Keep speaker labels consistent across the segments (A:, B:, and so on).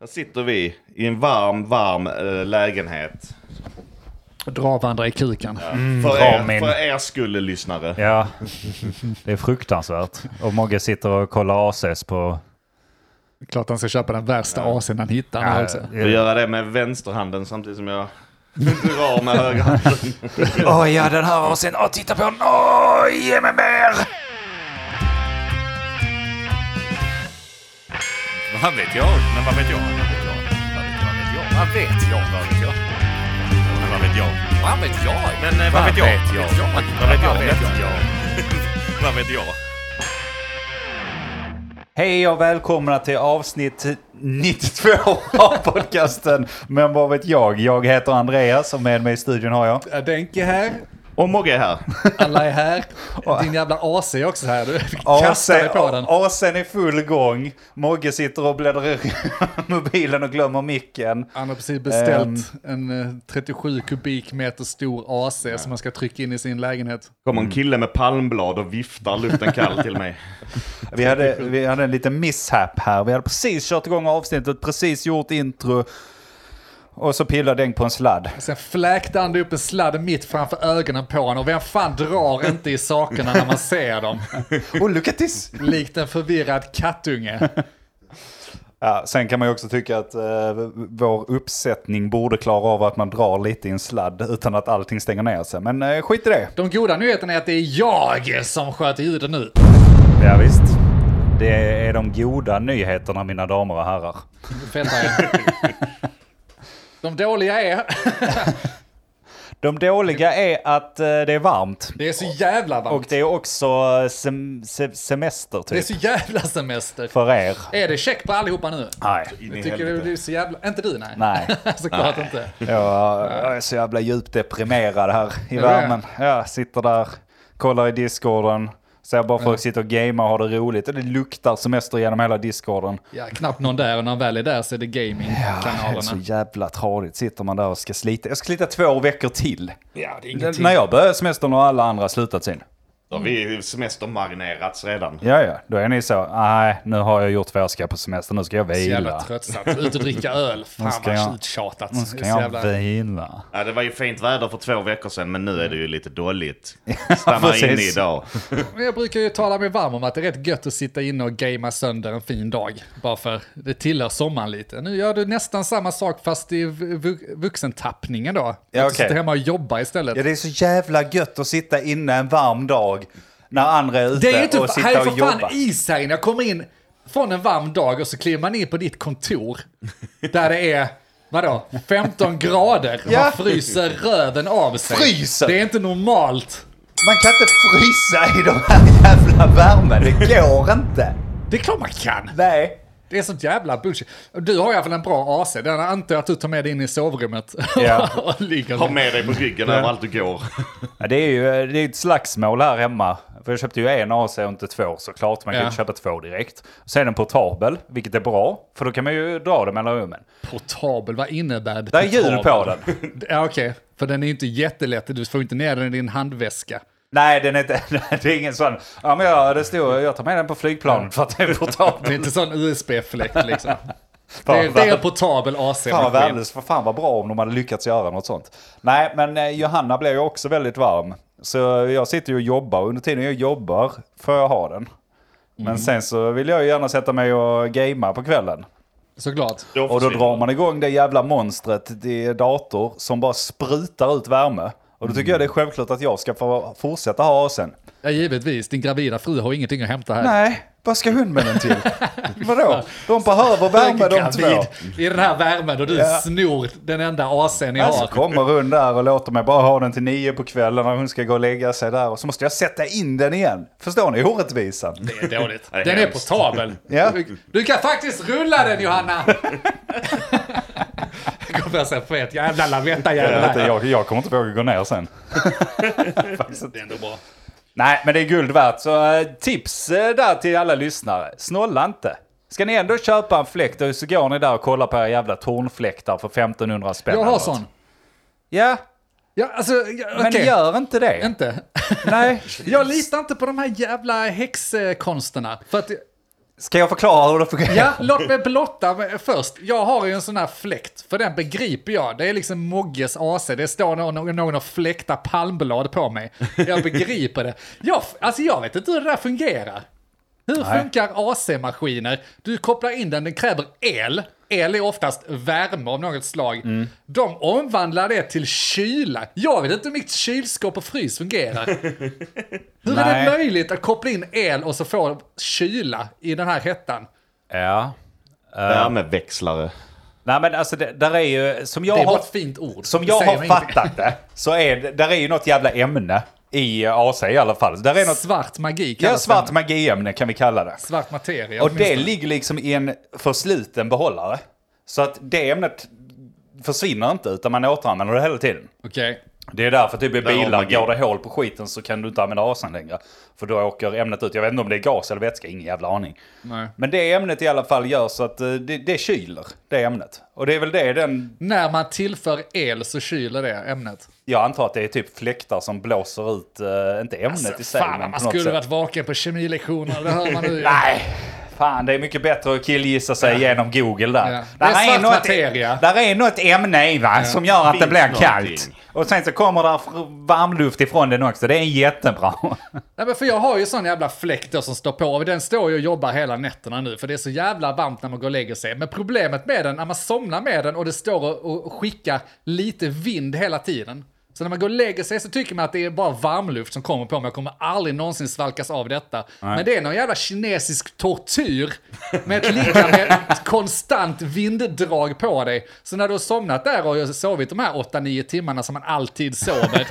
A: Här sitter vi i en varm, varm eh, lägenhet.
B: Dra varandra i kuken.
C: Mm.
A: för,
D: dra
A: er,
D: min.
A: för er skull lyssnare.
D: Ja, det är fruktansvärt. Och Mogge sitter och kollar ACs på...
B: Klart han ska köpa den värsta AC'n han hittar nu
D: Ja,
B: också.
A: Och göra det med vänsterhanden samtidigt som jag drar med högerhanden.
D: Åh ja, den här och sen, åh titta på den, åh ge mig mer!
C: Vad vet jag? Men vad vet jag? Vad vet jag? Vad vet jag? Vad vet jag? Men vad vet jag? Vad vet jag? Men eh, vad vet jag? Vad vet jag? Vad vet jag? Vad vet jag?
D: Hej och välkomna till avsnitt 92 av podcasten Men vad vet jag? Jag heter Andreas och med mig i studion har jag...
B: Denke är här,
A: Och Mogge är här.
B: alla är här. Din jävla AC är också här. Du
D: AC,
B: kastar dig på den.
D: AC'n i full gång. Mogge sitter och bläddrar i mobilen och glömmer micken.
B: Han har precis beställt en eh, 37 kubikmeter stor AC som han ska trycka in i sin lägenhet.
A: Kommer en kille med palmblad och viftar luften kall till mig.
D: Vi hade, vi hade en liten misshap här. Vi hade precis kört igång avsnittet, precis gjort intro. Och så pillade den på en sladd.
B: Sen fläkte han upp en sladd mitt framför ögonen på honom. Och vem fan drar inte i sakerna när man ser dem?
D: Oh, look at this!
B: Likt en förvirrad kattunge.
D: Ja, sen kan man ju också tycka att eh, vår uppsättning borde klara av att man drar lite i en sladd utan att allting stänger ner sig. Men eh, skit i det.
B: De goda nyheterna är att det är jag som sköter ljudet nu.
D: Ja, visst. Det är de goda nyheterna mina damer och herrar.
B: Fältare. De dåliga är...
D: De dåliga är att eh, det är varmt.
B: Det är så jävla
D: Och
B: varmt.
D: det är också eh, sem se semester
B: Det är
D: typ.
B: så jävla semester.
D: För er.
B: Är det check på allihopa nu?
D: Nej.
A: In i
B: Jag tycker det
A: helvete.
B: blir så jävla... Inte du nej?
D: Nej.
B: Såklart inte.
D: Jag, jag är så jävla djupt deprimerad här i värmen. Jag sitter där, kollar i discorden, ser bara folk sitta och gamea och ha det roligt. Och det luktar semester genom hela discorden.
B: Ja, knappt någon där och när han väl är där så är det
D: Ah, Det är så
B: gamingkanalerna.
D: jävla tradigt. Sitter man där och ska slita. Jag ska slita två veckor till.
B: Ja, det är
D: När jag börjar semestern har alla andra slutat sin.
A: Då har vi semestermarinerats redan.
D: Ja, ja. Då är ni så. Nej, nu har jag gjort vad jag ska på semestern. Nu ska jag
B: Så jävla
D: vila.
B: tröttsamt. Ut och dricka öl. Fan
D: ska
B: vad
D: jag-
B: uttjatat.
D: Nu
B: Det
D: ska
B: är så
D: jag
B: jävla-
D: vila.
A: Ja, det var ju fint väder för två veckor sedan men nu är det ju lite dåligt. Stanna
D: precis.
A: inne idag.
B: Men jag brukar ju tala mig varm om att det är rätt gött att sitta inne och gamea sönder en fin dag. Bara för det tillhör sommaren lite. Nu gör du nästan samma sak fast i vu- vu- vuxentappningen då.
D: Ja,
B: Att du
D: okej.
B: sitter hemma och jobbar istället.
D: Ja, det är så jävla gött att sitta inne en varm dag när andra är ute
B: Det är ju
D: och
B: inte, här
D: sitta
B: är
D: och
B: för
D: jobba.
B: fan is här inne. Jag kommer in från en varm dag och så kliver man in på ditt kontor. Där det är, vadå, 15 grader. Man
D: Ja.
B: fryser röven av sig.
D: Fryser?
B: Det är inte normalt.
D: Man kan inte frysa i de här jävla värmen. Det går inte.
B: Det är klart man kan.
D: Nej.
B: Det är sånt jävla bullshit. Du har i alla fall en bra AC. Den antar jag att du tar med dig in i sovrummet.
D: Ja.
B: och ligger
A: Ha
B: där.
A: med dig på ryggen överallt du går.
D: Ja, det är ju det är ett slagsmål här hemma. För jag köpte ju en AC och inte två såklart. Man kan
B: Ja.
D: ju inte köpa två direkt. Sen är den portabel, vilket är bra. För då kan man ju dra den mellan rummen.
B: Portabel, vad innebär det?
D: Det är hjul på den.
B: Ja, okej. För den är ju inte jättelätt. Du får ju inte ner den i din handväska.
D: Nej, den är inte, det är ingen sån. Ja, men jag, det stod, jag tar med den på flygplanet för att den är portabel.
B: Det är inte sån USB-fläkt liksom. Det
D: Fan,
B: är, det är en portabel AC.
D: Fan vad värdelöst, för fan vad bra om de hade lyckats göra något sånt. Nej, men eh, Johanna blev ju också väldigt varm. Så jag sitter ju och jobbar och under tiden jag jobbar får jag ha den. Men sen så vill jag ju gärna sätta mig och gamea på kvällen.
B: Såklart.
D: Och då
A: försvinner
D: drar man igång det jävla monstret, det är dator som bara sprutar ut värme. Och då tycker jag det är självklart att jag ska få fortsätta ha sen.
B: Ja, givetvis. Din gravida fru har ingenting att hämta här.
D: Nej, vad ska hon med den till? Vadå? De behöver värme de två.
B: I den här värmen och du
D: Ja.
B: snor den enda AC'n ni
D: Alltså
B: har.
D: kommer hon där och låter mig bara ha den till nio på kvällen när hon ska gå och lägga sig där. Och så måste jag sätta in den igen. Förstår ni orättvisan?
B: Det är dåligt.
A: Det är
B: Den är
A: hemskt.
B: portabel.
D: Ja.
B: Du, du kan faktiskt rulla den Johanna! Jag kommer att säga fet jävla
D: Jag, vet
B: lavetta-jävel
D: inte,
B: här.
D: jag, jag kommer inte våga gå ner sen.
B: Det är ändå bra.
D: Nej, men det är guld värt. Så eh, tips eh, där till alla lyssnare. Snåla inte. Ska ni ändå köpa en fläkt och så går ni där och kollar på era jävla tornfläktar för 1500 spänn.
B: Jag
D: eller
B: har
D: något.
B: sån.
D: Ja,
B: Ja, alltså, ja,
D: men
B: okej.
D: gör inte det.
B: Inte.
D: Nej.
B: Jag litar inte på de här jävla häxkonsterna. För att
D: Ska jag förklara hur det fungerar?
B: Ja, låt mig blotta mig först. Jag har ju en sån här fläkt, för den begriper jag. Det är liksom Mogges AC, det står någon, någon och fläktar palmblad på mig. Jag begriper det. Jag, alltså jag vet inte hur det där fungerar. Hur funkar AC-maskiner? Du kopplar in den, den kräver el. El är oftast värme av något slag. De omvandlar det till kyla. Jag vet inte hur mitt kylskåp och frys fungerar. Hur är
D: Nej.
B: det möjligt att koppla in el och så få kyla i den här hettan?
D: Ja.
A: Värmeväxlare.
D: Nej men alltså det, där är ju, som jag
B: Det var
D: har,
B: ett fint ord.
D: som
B: Det
D: jag
B: säger
D: har
B: mig ingenting.
D: fattat det, så är det, där är ju något jävla ämne i eh, AC i alla fall. Där är något,
B: Svart magi
D: ja,
B: kallas
D: svart
B: den.
D: magiämne kan vi kalla det.
B: Svart materia.
D: Och det
B: åtminstone.
D: ligger liksom i en försliten behållare. Så att det ämnet försvinner inte utan man återanvänder det hela tiden.
B: Okej.
D: Det är därför typ i
A: Där har
D: bilar,
A: magi.
D: går det hål på skiten så kan du inte använda asen längre. För då åker ämnet ut. Jag vet inte om det är gas eller vätska, ingen jävla aning.
B: Nej.
D: Men det ämnet i alla fall gör så att eh, det, det kyler, det ämnet. Och det är väl det den,
B: När man tillför el så kyler det ämnet.
D: jag antar att det är typ fläktar som blåser ut, eh, inte ämnet i
B: Alltså,
D: sig.
B: Fan,
D: men
B: man
D: på något
B: skulle
D: sätt.
B: varit vaken på kemilektionerna, det hör man nu. ju.
D: Nej, fan det är mycket bättre att killgissa sig genom Google där.
B: Ja. Det är
D: Där,
B: svart
D: något,
B: materia.
D: där är något ämne i va, som gör att det
A: Finns
D: blir
A: någonting.
D: kallt. Och sen så kommer där fr- varmluft ifrån den också, det är jättebra.
B: Nej, men för jag har ju sån jävla fläkt då som står på. Och Den står ju och jobbar hela nätterna nu, för det är så jävla varmt när man går och lägger sig. Men problemet med den, när man somnar med den och det står och, och skickar lite vind hela tiden. Så när man går och lägger sig så tycker man att det är bara varmluft som kommer på mig. Jag kommer aldrig någonsin svalkas av detta. Men det är någon jävla kinesisk tortyr med ett ligga med ett konstant vinddrag på dig. Så när du har somnat där och har sovit de här 8-9 timmarna som man alltid sover,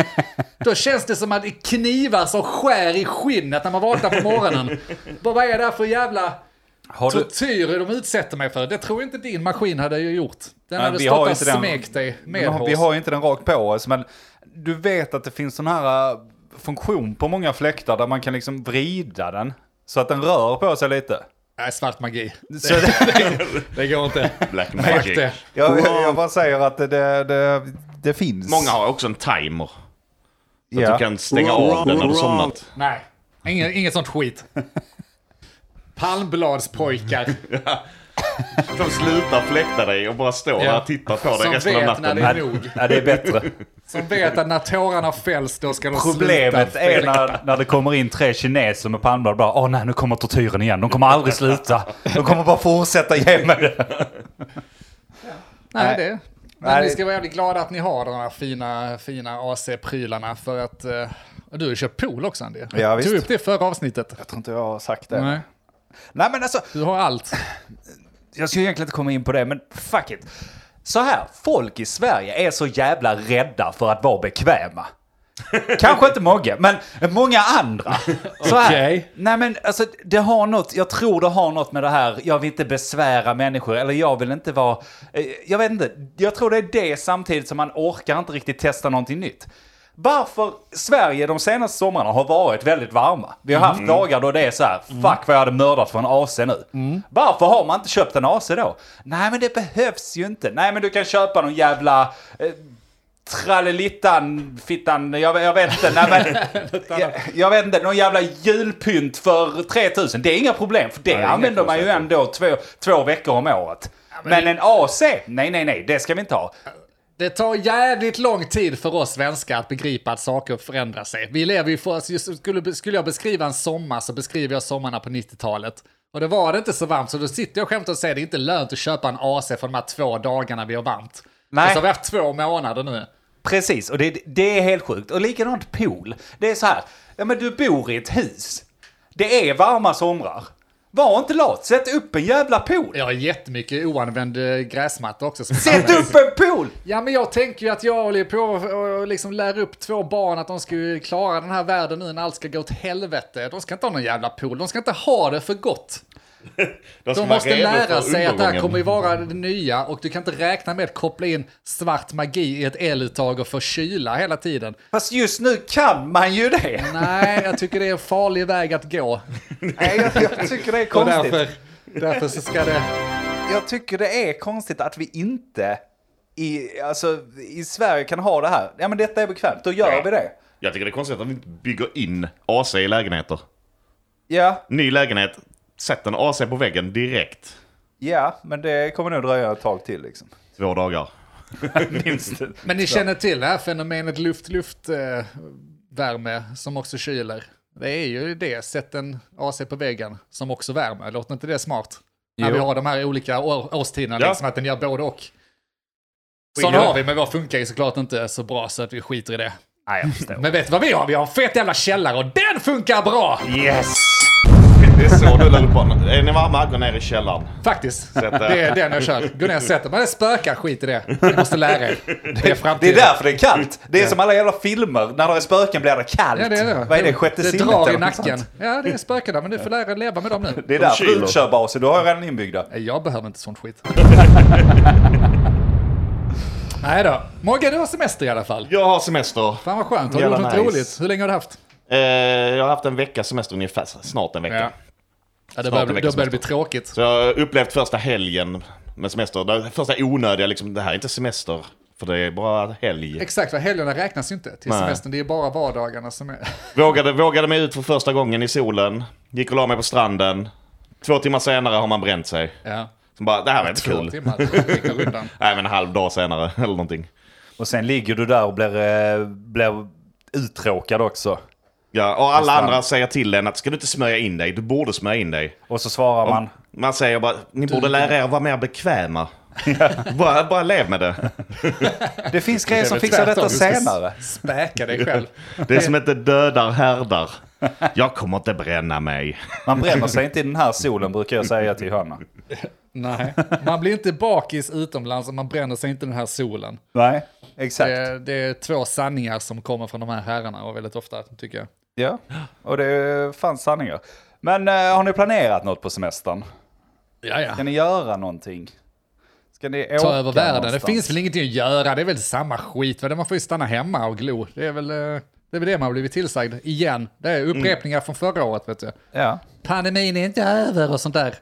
B: då känns det som att det är knivar som skär i skinnet när man vaknar på morgonen. Vad vad är det här för jävla
D: Har du,
B: tortyr de utsätter mig för? Det tror jag inte din maskin hade ju gjort. Den
D: Nej,
B: hade
D: vi har
B: stått och
D: inte den.
B: smekt dig med
D: Men vi
B: hårs.
D: har ju inte den rakt på oss, men du vet att det finns sån här äh, funktion på många fläktar där man kan liksom vrida den så att den rör på sig lite.
B: Nej, svart magi.
D: Så
B: Det går inte.
A: Black
B: Fuck
A: magic.
B: det.
D: jag, jag bara säger att det, det, det, det finns.
A: Många har också en timer. Så
D: Ja.
A: att du kan stänga av den när du somnat.
B: Nej, inget, inget sånt skit. Palmbladspojkar.
A: De slutar fläkta dig och bara står där och tittar på dig
B: Som
A: resten av
B: vet när
A: natten.
B: det är nog.
D: Ja, det är bättre.
B: Som vet att när tårarna fälls då ska de
D: Problemet
B: sluta.
D: är när, när det kommer in tre kineser med palmblad och bara åh nej nu kommer tortyren igen, de kommer aldrig sluta. De kommer bara fortsätta ge mig det.
B: Nej, det. Men
D: Nej,
B: ni
D: det-
B: ska vara jävligt glada att ni har de här fina, fina AC-prylarna för att... eh, du har ju köpt pool också Andy.
D: Ja, visst.
B: Tog upp det i förra avsnittet.
D: Jag tror inte jag har sagt det.
B: Nej,
D: nej men alltså,
B: du har allt.
D: jag skulle egentligen inte komma in på det, men fuck it. Så här, folk i Sverige är så jävla rädda för att vara bekväma. Kanske inte Mogge, men många andra. Så här.
B: Okej.
D: Nej men alltså, det har något, jag tror det har något med det här, jag vill inte besvära människor, eller jag vill inte vara, eh, jag vet inte, jag tror det är det samtidigt som man orkar inte riktigt testa någonting nytt. Varför Sverige de senaste somrarna har varit väldigt varma. Vi har haft dagar då det är så här, fuck vad jag hade mördat för en AC nu. Varför har man inte köpt en AC då? Nej men det behövs ju inte. Nej men du kan köpa någon jävla eh, Trallelittan, fittan, jag, jag vet inte. Nej, men, jag, jag vet inte, någon jävla julpynt för 3000. Det är inga problem, för det
A: det är inga
D: använder man ju ändå två, två veckor om året. men en AC? Nej, nej, nej, det ska vi inte ha.
B: Det tar jävligt lång tid för oss svenskar att begripa att saker förändrar sig. Vi lever ju för, just- skulle, skulle jag beskriva en sommar så beskriver jag sommarna på 90-talet. Och det var det inte så varmt så då sitter jag och skämtar och säger det är inte lönt att köpa en AC för de här två dagarna vi har varmt.
D: Nej.
B: Och så har vi haft två månader nu.
D: Precis, och det, det är helt sjukt. Och likadant pool. Det är så här, ja men du bor i ett hus. Det är varma somrar. Var inte lat, sätt upp en jävla pool.
B: Jag har jättemycket oanvänd eh, gräsmatta också. Som
D: Sätt upp en pool!
B: Ja men jag tänker ju att jag håller på och och liksom lär upp två barn att de ska ju klara den här världen nu när allt ska gå åt helvete. De ska inte ha någon jävla pool, de ska inte ha det för gott.
A: De,
B: De
A: ska vara
B: måste
A: redo för
B: lära sig att det här
A: undergången.
B: kommer ju vara det nya och du kan inte räkna med att koppla in svart magi i ett eluttag och få kyla hela tiden.
D: Fast just nu kan man ju det.
B: Nej, jag tycker det är en farlig väg att gå.
D: Nej, jag, jag tycker det är
B: Och
D: konstigt.
B: därför, därför så ska det...
D: Jag tycker det är konstigt att vi inte i, alltså, i Sverige kan ha det här. Ja men detta är bekvämt, då gör
A: Ja.
D: vi det.
A: Jag tycker det är konstigt att de inte bygger in AC i lägenheter.
D: Ja,
A: Ny lägenhet, Sätt en AC på väggen direkt.
D: Ja, men det kommer nog dröja ett tag till liksom.
A: Två dagar.
D: Minst.
B: Men ni känner till det här fenomenet luft-luft-värme som också kyler. Det är ju det, sätt en AC på väggen som också värmer. Låter inte det smart? När
D: Jo.
B: vi har de här olika år, årstiderna,
A: Ja.
B: liksom att den gör både och. Sådana har vi, men vår funkar ju såklart inte så bra så att vi skiter i det.
D: Nej, jag förstår.
B: Men vet du vad vi har? Vi har en fet jävla källare och den funkar bra!
A: Yes! Det är så du la upp honom. Är ni varma, gå ner i källaren.
B: Faktiskt.
A: Sätt det.
B: Det är den jag kör. Gå ner och sätt dig. Men det spökar, skit i det. Ni måste lära er. Det är
D: Det är
B: framtiden.
D: därför det är kallt. Det är som alla jävla filmer. När det är spöken blir det kallt.
B: Ja, det är det.
D: Vad är det? Sjätte
B: det
D: sinnet
B: drar
D: eller
B: i
D: något
B: nacken.
D: sånt?
B: Ja, det är spökena, men du får lära dig leva med dem nu.
D: Det är därför
A: kyler.
D: utkörbaser du har ju redan inbyggda.
B: Nej, Jag behöver inte sånt skit. Nej då. Mogge, du har semester i alla fall.
A: Jag har semester.
B: Fan vad skönt. Har du gjort
A: Jävla
B: något
A: nice.
B: roligt? Hur länge har du haft?
A: Eh, jag har haft en vecka semester ungefär, snart en vecka.
B: Ja, det
A: en
B: börjar, bli-
A: vecka
B: då börjar det bli tråkigt.
A: Så jag har upplevt första helgen med semester. Den första onödiga, liksom, det här är inte semester. För det är bara helg.
B: Exakt, för helgerna räknas ju inte till
A: Nej.
B: semestern. Det är bara vardagarna som är...
A: Vågade, vågade mig ut för första gången i solen. Gick och la mig på stranden. Två timmar senare har man bränt sig.
B: Ja.
A: Som bara, det här var inte
B: Två
A: kul.
B: timmar. Det går undan.
A: Nej, men en halv dag senare eller någonting.
D: Och sen ligger du där och blir, eh, blir uttråkad också.
A: Ja, och alla
D: Nästan.
A: andra säger till en att ska du inte smörja in dig? Du borde smörja in dig.
D: Och så svarar man.
A: Man säger bara, ni borde lära er att vara mer bekväma. bara, bara lev med det.
D: Det finns grejer som
B: väl
D: fixar
B: tvärtom,
D: detta
B: du ska
D: senare.
B: Späka dig själv.
A: Det är som inte dödar härdar. Jag kommer inte bränna mig.
D: Man bränner sig inte i den här solen brukar jag säga till Hanna.
B: Nej. Man blir inte bakis utomlands och man bränner sig inte i den här solen.
D: Nej, exakt.
B: Det, det är två sanningar som kommer från de här herrarna och väldigt ofta tycker jag.
D: Ja, och det fanns sanningar. Men eh, har ni planerat något på semestern?
B: Ja, ja.
D: Ska ni göra någonting? Ska ni åka
B: ta över världen.
D: någonstans?
B: Det finns väl ingenting att göra, det är väl samma skit. va? Man får ju stanna hemma och glo. Det är väl eh, det, är väl det man har blivit tillsagd igen. Det är upprepningar från förra året vet du.
D: Ja.
B: Pandemin är inte över och sånt där.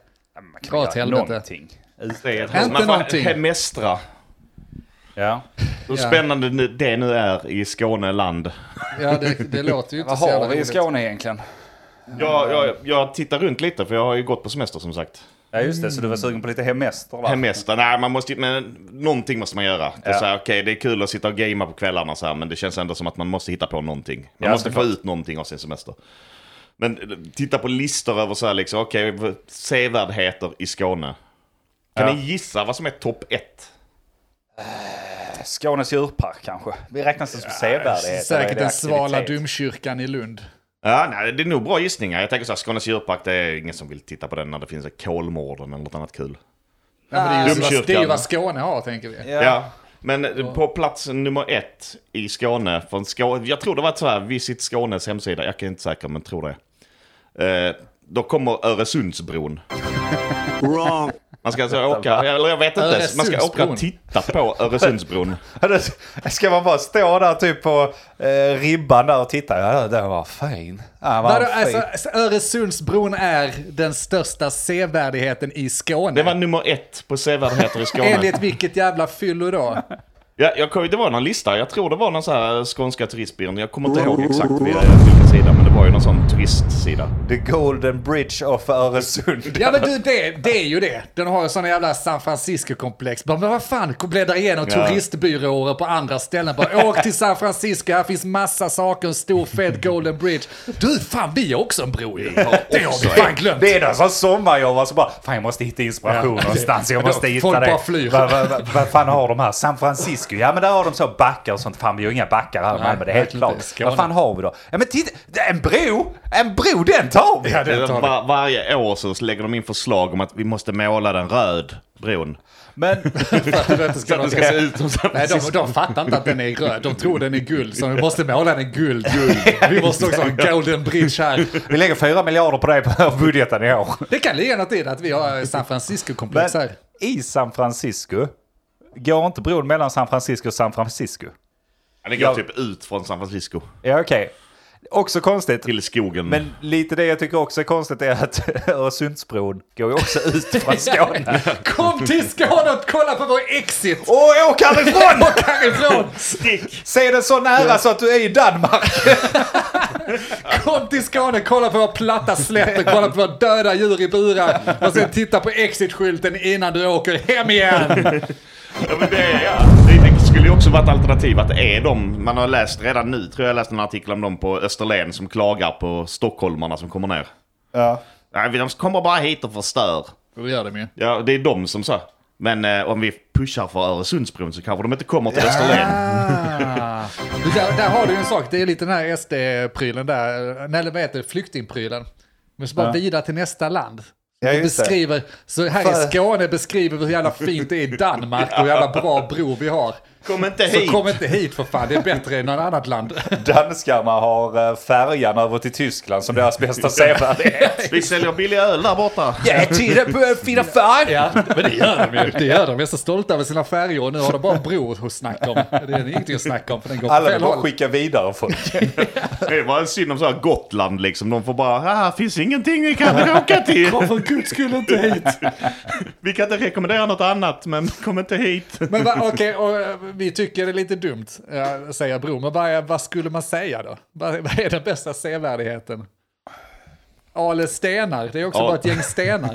B: Dra åt helvete.
D: Någonting.
A: Det är ett-
B: Inte
A: Man får
B: någonting.
A: Hemestra.
D: Ja.
A: Hur
B: Ja.
A: spännande nu- det nu är i Skåneland.
B: Ja, det, det låter ju inte
D: Vad
B: så jävla
D: har vi i
B: roligt.
D: Skåne egentligen?
A: Jag, jag, jag tittar runt lite för jag har ju gått på semester som sagt.
D: Ja just det, så du var sugen på lite hemester va?
A: Hemester, nej man måste ju- men någonting måste man göra. Det är
D: Ja.
A: så här, okej, det är kul att sitta och gamea på kvällarna så här, men det känns ändå som att man måste hitta på någonting. Man
D: Ja,
A: måste få
D: såklart.
A: ut någonting av sin semester. Men eh, titta på listor över så här liksom, okej, v- sevärdheter i Skåne. Kan
D: Ja.
A: ni gissa vad som är topp ett?
D: Skånes djurpark kanske? Vi räknas det som sevärdhet? eller är
B: Säkert
D: det
B: den svala
D: aktivitet?
B: domkyrkan i Lund.
A: Ja, nej, det är nog bra gissningar. Jag tänker så här, Skånes djurpark, det är ingen som vill titta på den när det finns en Kolmården eller något annat kul.
B: Ja, men det, är ju så,
A: Domkyrkan.
B: det är ju vad Skåne har tänker vi.
D: Ja.
A: Ja. Men på plats nummer ett i Skåne, från Skåne jag tror det var ett så här, Visit Skånes hemsida, jag kan inte säker men tror det. Eh, då kommer Öresundsbron. Man ska alltså åka, eller jag vet inte, man ska åka
B: Öresundsbron.
A: och titta på Öresundsbron.
D: Ja, det- Ska man bara stå där typ på eh, ribban där och titta? Ja, den var fin. Ja, var
B: Vadå,
D: fin.
B: alltså, alltså, Öresundsbron är den största sevärdheten i Skåne.
A: Det var nummer ett på sevärdheter i Skåne.
B: Enligt vilket jävla fyllo då?
A: Ja, jag, kom- det var någon lista, jag tror det var någon så här skånska turistbyrån, jag kommer inte ihåg exakt vid- vilken sida, men det var ju någon sån turistsida.
D: The Golden Bridge of Öresund.
B: Ja men du, det, det är ju det. Den har ju sådana jävla San Francisco-komplex. Bara, Men vad fan, bläddra igenom
A: Ja.
B: turistbyråer på andra ställen. Bara, åk till San Francisco, här finns massa saker, en stor fet Golden Bridge. Du, fan vi har också en bro ju. Det har vi fan glömt.
D: Det är någon som sommarjobbar som bara, fan jag måste hitta inspiration någonstans, jag måste hitta
B: Folk
D: det.
B: bara flyr.
D: Vad vad- vad- vad fan har de här? San Francisco? Ja men där har de så backar och sånt. Fan vi har inga backar här i
B: Nej,
D: Malmö, det är helt
B: verkligen
D: klart.
B: inte. Skåne.
D: Vad fan har vi då? Ja men titta, det är en bro! En bro, den tar vi!
B: Ja, det tar vi.
A: Var, varje år så lägger de in förslag om att vi måste måla den röd, bron.
D: Men,
B: För att du inte
A: Så
B: ska
A: att det
B: råka-
A: ska se ut som San
B: Nej, de,
A: Francisco.
B: de fattar inte att den är röd. De tror den är guld, så vi måste måla den guld. guld. Vi måste också ha en golden bridge här.
D: vi lägger fyra miljarder på det på budgeten i år.
B: Det kan ligga något i det att vi har San
D: Men
B: Francisco-komplex här.
D: i San Francisco, går inte bron mellan San Francisco och San Francisco?
A: Ja, det går
D: Ja.
A: typ ut från San Francisco
D: Ja okej. Också konstigt.
A: till skogen.
D: Men lite det jag tycker också är konstigt är att Öresundsbron går ju också ut från Skåne.
B: Kom till Skåne och kolla på vår exit!
D: Och åk härifrån!
B: Åk härifrån!
A: stick!
D: Se den så nära så att du är i Danmark.
B: Kom till Skåne, kolla på våra platta slätter, kolla på våra döda djur i burar och sen titta på exit-skylten innan du åker hem igen.
A: Ja, men det, är, ja. det det skulle ju också vara ett alternativ att det är de, man har läst redan nu, tror jag läste en artikel om dem på Österlen som klagar på stockholmarna som kommer ner.
D: Ja.
A: Nej, vi- de kommer bara hit och förstör.
B: Då gör de ju.
A: Ja, det är de som så. Men eh, om vi pushar för Öresundsbron så kanske de inte kommer till Österlen.
B: Ah. Du, Där, där har du ju en sak, det är lite den här SD-prylen där, nej, eller vad heter det, flyktingprylen. Men så bara vidare till nästa land.
D: Ja,
B: Du
D: just det.
B: beskriver, så här i
D: Fan.
B: Skåne beskriver vi hur jävla fint det är i Danmark och hur jävla bra bro vi har.
A: Kom inte
B: Så
A: hit!
B: kom inte hit för fan, det är bättre än något annat land.
D: Danskarna har eh, färjan över till Tyskland som deras bästa sevärdhet.
A: Vi säljer billig öl där borta.
D: Jag tittar på fina färg!
B: Ja, men det gör de ju. Det gör de. Vi är så stolta över sina färger och nu har de bara en bro att snacka om. Det är ingenting att snacka om för den går åt
D: Alla vill
B: fel
D: bara
B: håll.
D: skicka vidare folk.
A: Det var en synd om så här Gotland liksom. De får bara, här finns ingenting vi kan åka till.
B: Kom för guds skull inte hit.
A: Vi kan inte rekommendera något annat, men kom inte hit.
B: Men va, okej, och, eh, vi tycker det är lite dumt eh, att säga bro, men vad, är- vad skulle man säga då? Vad, vad är den bästa sevärdigheten? Ale stenar, det är också
A: Ja.
B: bara ett gäng stenar.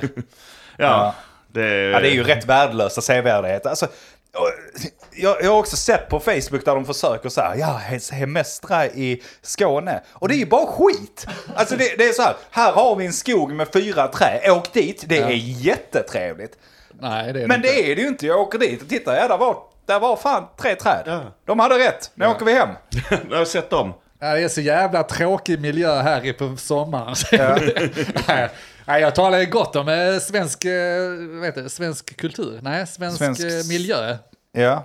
A: Ja, det,
D: Ja, det är ju rätt värdelösa sevärdheter. Alltså, och- jag, jag har också sett på Facebook där de försöker så här, ja, he- hemestra i Skåne. Och det är ju bara skit! Alltså det, det är så här, här har vi en skog med fyra trä, åk dit, det är jättetrevligt.
B: Nej, det är
D: Men
B: det inte.
D: det är det ju inte, jag åker dit och tittar, ja där var, där var fan tre träd.
A: Ja.
D: De hade rätt, nu åker vi hem.
A: Jag har sett dem.
B: Ja, det är så jävla tråkig miljö här i på sommaren. Nej, Nej, jag talar ju gott om eh, svensk, eh, vad heter det, svensk kultur. Nej, svensk,
D: Svensk-
B: eh, miljö.
D: Ja.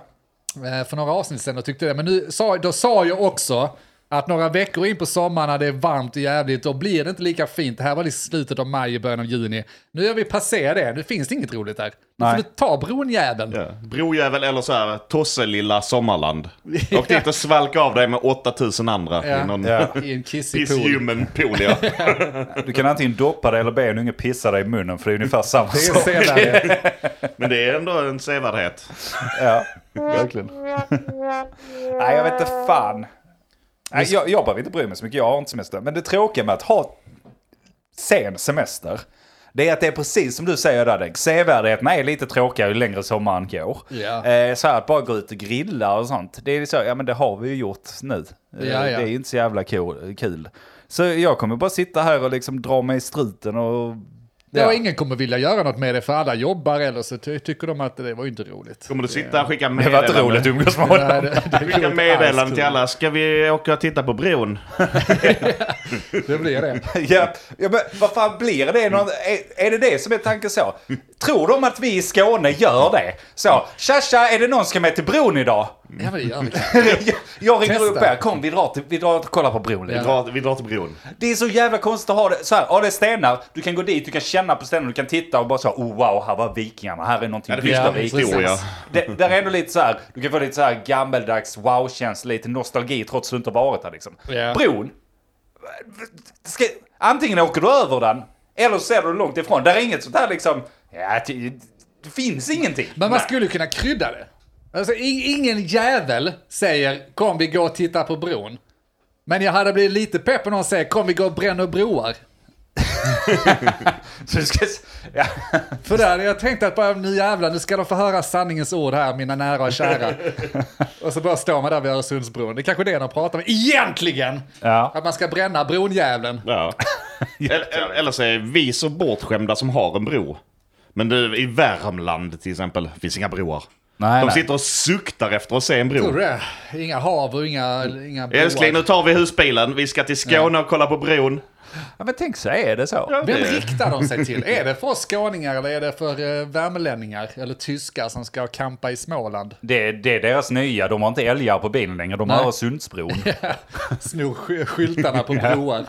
B: eh, för några avsnitt sedan och tyckte det. Men nu sa, då sa jag också att några veckor in på sommaren när det är varmt och jävligt, då blir det inte lika fint. Det här var i slutet av maj och början av juni. Nu har vi passerat det, nu finns det inget roligt där. Nu får
D: Nej.
B: du ta bronjäveln.
A: Ja. Brojävel eller så här Tosselilla Sommarland. Åk dit och svalka av dig med 8000 andra.
B: Ja.
A: I någon
D: Ja.
B: I en kissig pool.
A: pissljummen pool ja.
D: Du kan antingen doppa dig eller be en unge pissa dig i munnen för det är ungefär samma
B: Det är
D: sak.
B: sevärdighet.
A: Men det är ändå en sevärdhet.
D: Ja, verkligen. Nej, jag vet inte fan. Nej, jag, jag behöver inte bry mig så mycket, jag har inte semester. Men det tråkiga med att ha sen semester, det är att det är precis som du säger där Dick. Sevärdheterna är lite tråkigare ju längre sommaren går.
B: Ja.
D: Eh, så här att bara gå ut och grilla och sånt, det är så, ja men det har vi ju gjort nu. Eh,
B: Ja, ja.
D: Det är ju inte så jävla cool, kul. Så jag kommer bara sitta här och liksom dra mig i struten och...
B: Ja, och ingen kommer vilja göra något med det för alla jobbar eller så ty tycker de att det var ju inte roligt.
A: Kommer du sitta och skicka
D: Det var inte roligt att
A: meddelanden?
D: umgås med
B: Nej,
D: honom.
B: det- det är
A: Skicka
B: roligt
A: meddelanden
B: alls,
A: till alla. Ska vi åka och titta på bron?
B: Det blir det.
D: Ja, ja men vad fan blir det? Någon, är, är det det som är tanken så? Tror de att vi i Skåne gör det? Så, tja tja, är det någon som ska med till bron idag?
B: Ja, men det gör vi.
D: Jag, jag ringer
B: Testa.
D: upp er, kom vi drar, till, vi drar och kollar på bron lite.
A: Vi drar, vi drar till bron.
D: Det är så jävla konstigt att ha det så här, ja det är stenar, du kan gå dit, du kan känna på stenarna, du kan titta och bara så, oh wow, här var vikingarna, här är någonting
A: Ja, det finns ja,
B: Ja,
D: dyster vi-
B: precis.
A: historia.
D: det, där är ändå lite så här, du kan få lite så här gammeldags wow-känsla, lite nostalgi trots att du inte har varit där liksom.
B: Ja.
D: Bron, ska, antingen åker du över den, eller så ser du långt ifrån. Där är inget sånt här liksom, ja, det, det finns ingenting.
B: Men man skulle ju kunna krydda det. Alltså, i- ingen jävel säger kom vi går och tittar på bron. Men jag hade blivit lite pepp om någon säger kom vi går och bränner broar.
D: Så du ska, ja.
B: För där hade jag tänkt att bara nu jävlar, nu ska de få höra sanningens ord här, mina nära och kära. och så bara står man där vid Öresundsbron. Det är kanske är det de pratar om. Egentligen!
D: Ja.
B: Att man ska bränna bronjäveln.
A: Ja. eller, eller så är vi så bortskämda som har en bro. Men du, i Värmland till exempel finns inga broar.
D: Nej,
A: De
D: nej.
A: sitter och suktar efter att se en
B: Tror du
A: bro.
B: det? Inga hav och inga, inga broar.
A: Älskling, nu tar vi husbilen. Vi ska till Skåne och kolla på bron.
D: ja, men tänk så är det så.
B: Vem riktar de sig till? Är det för oss skåningar eller är det för eh, värmlänningar eller tyskar som ska campa i Småland?
D: Det, det är deras nya, de har inte älgar på bilen längre, de
B: Nej.
D: har Öresundsbron.
B: Snor sk- skyltarna på broar.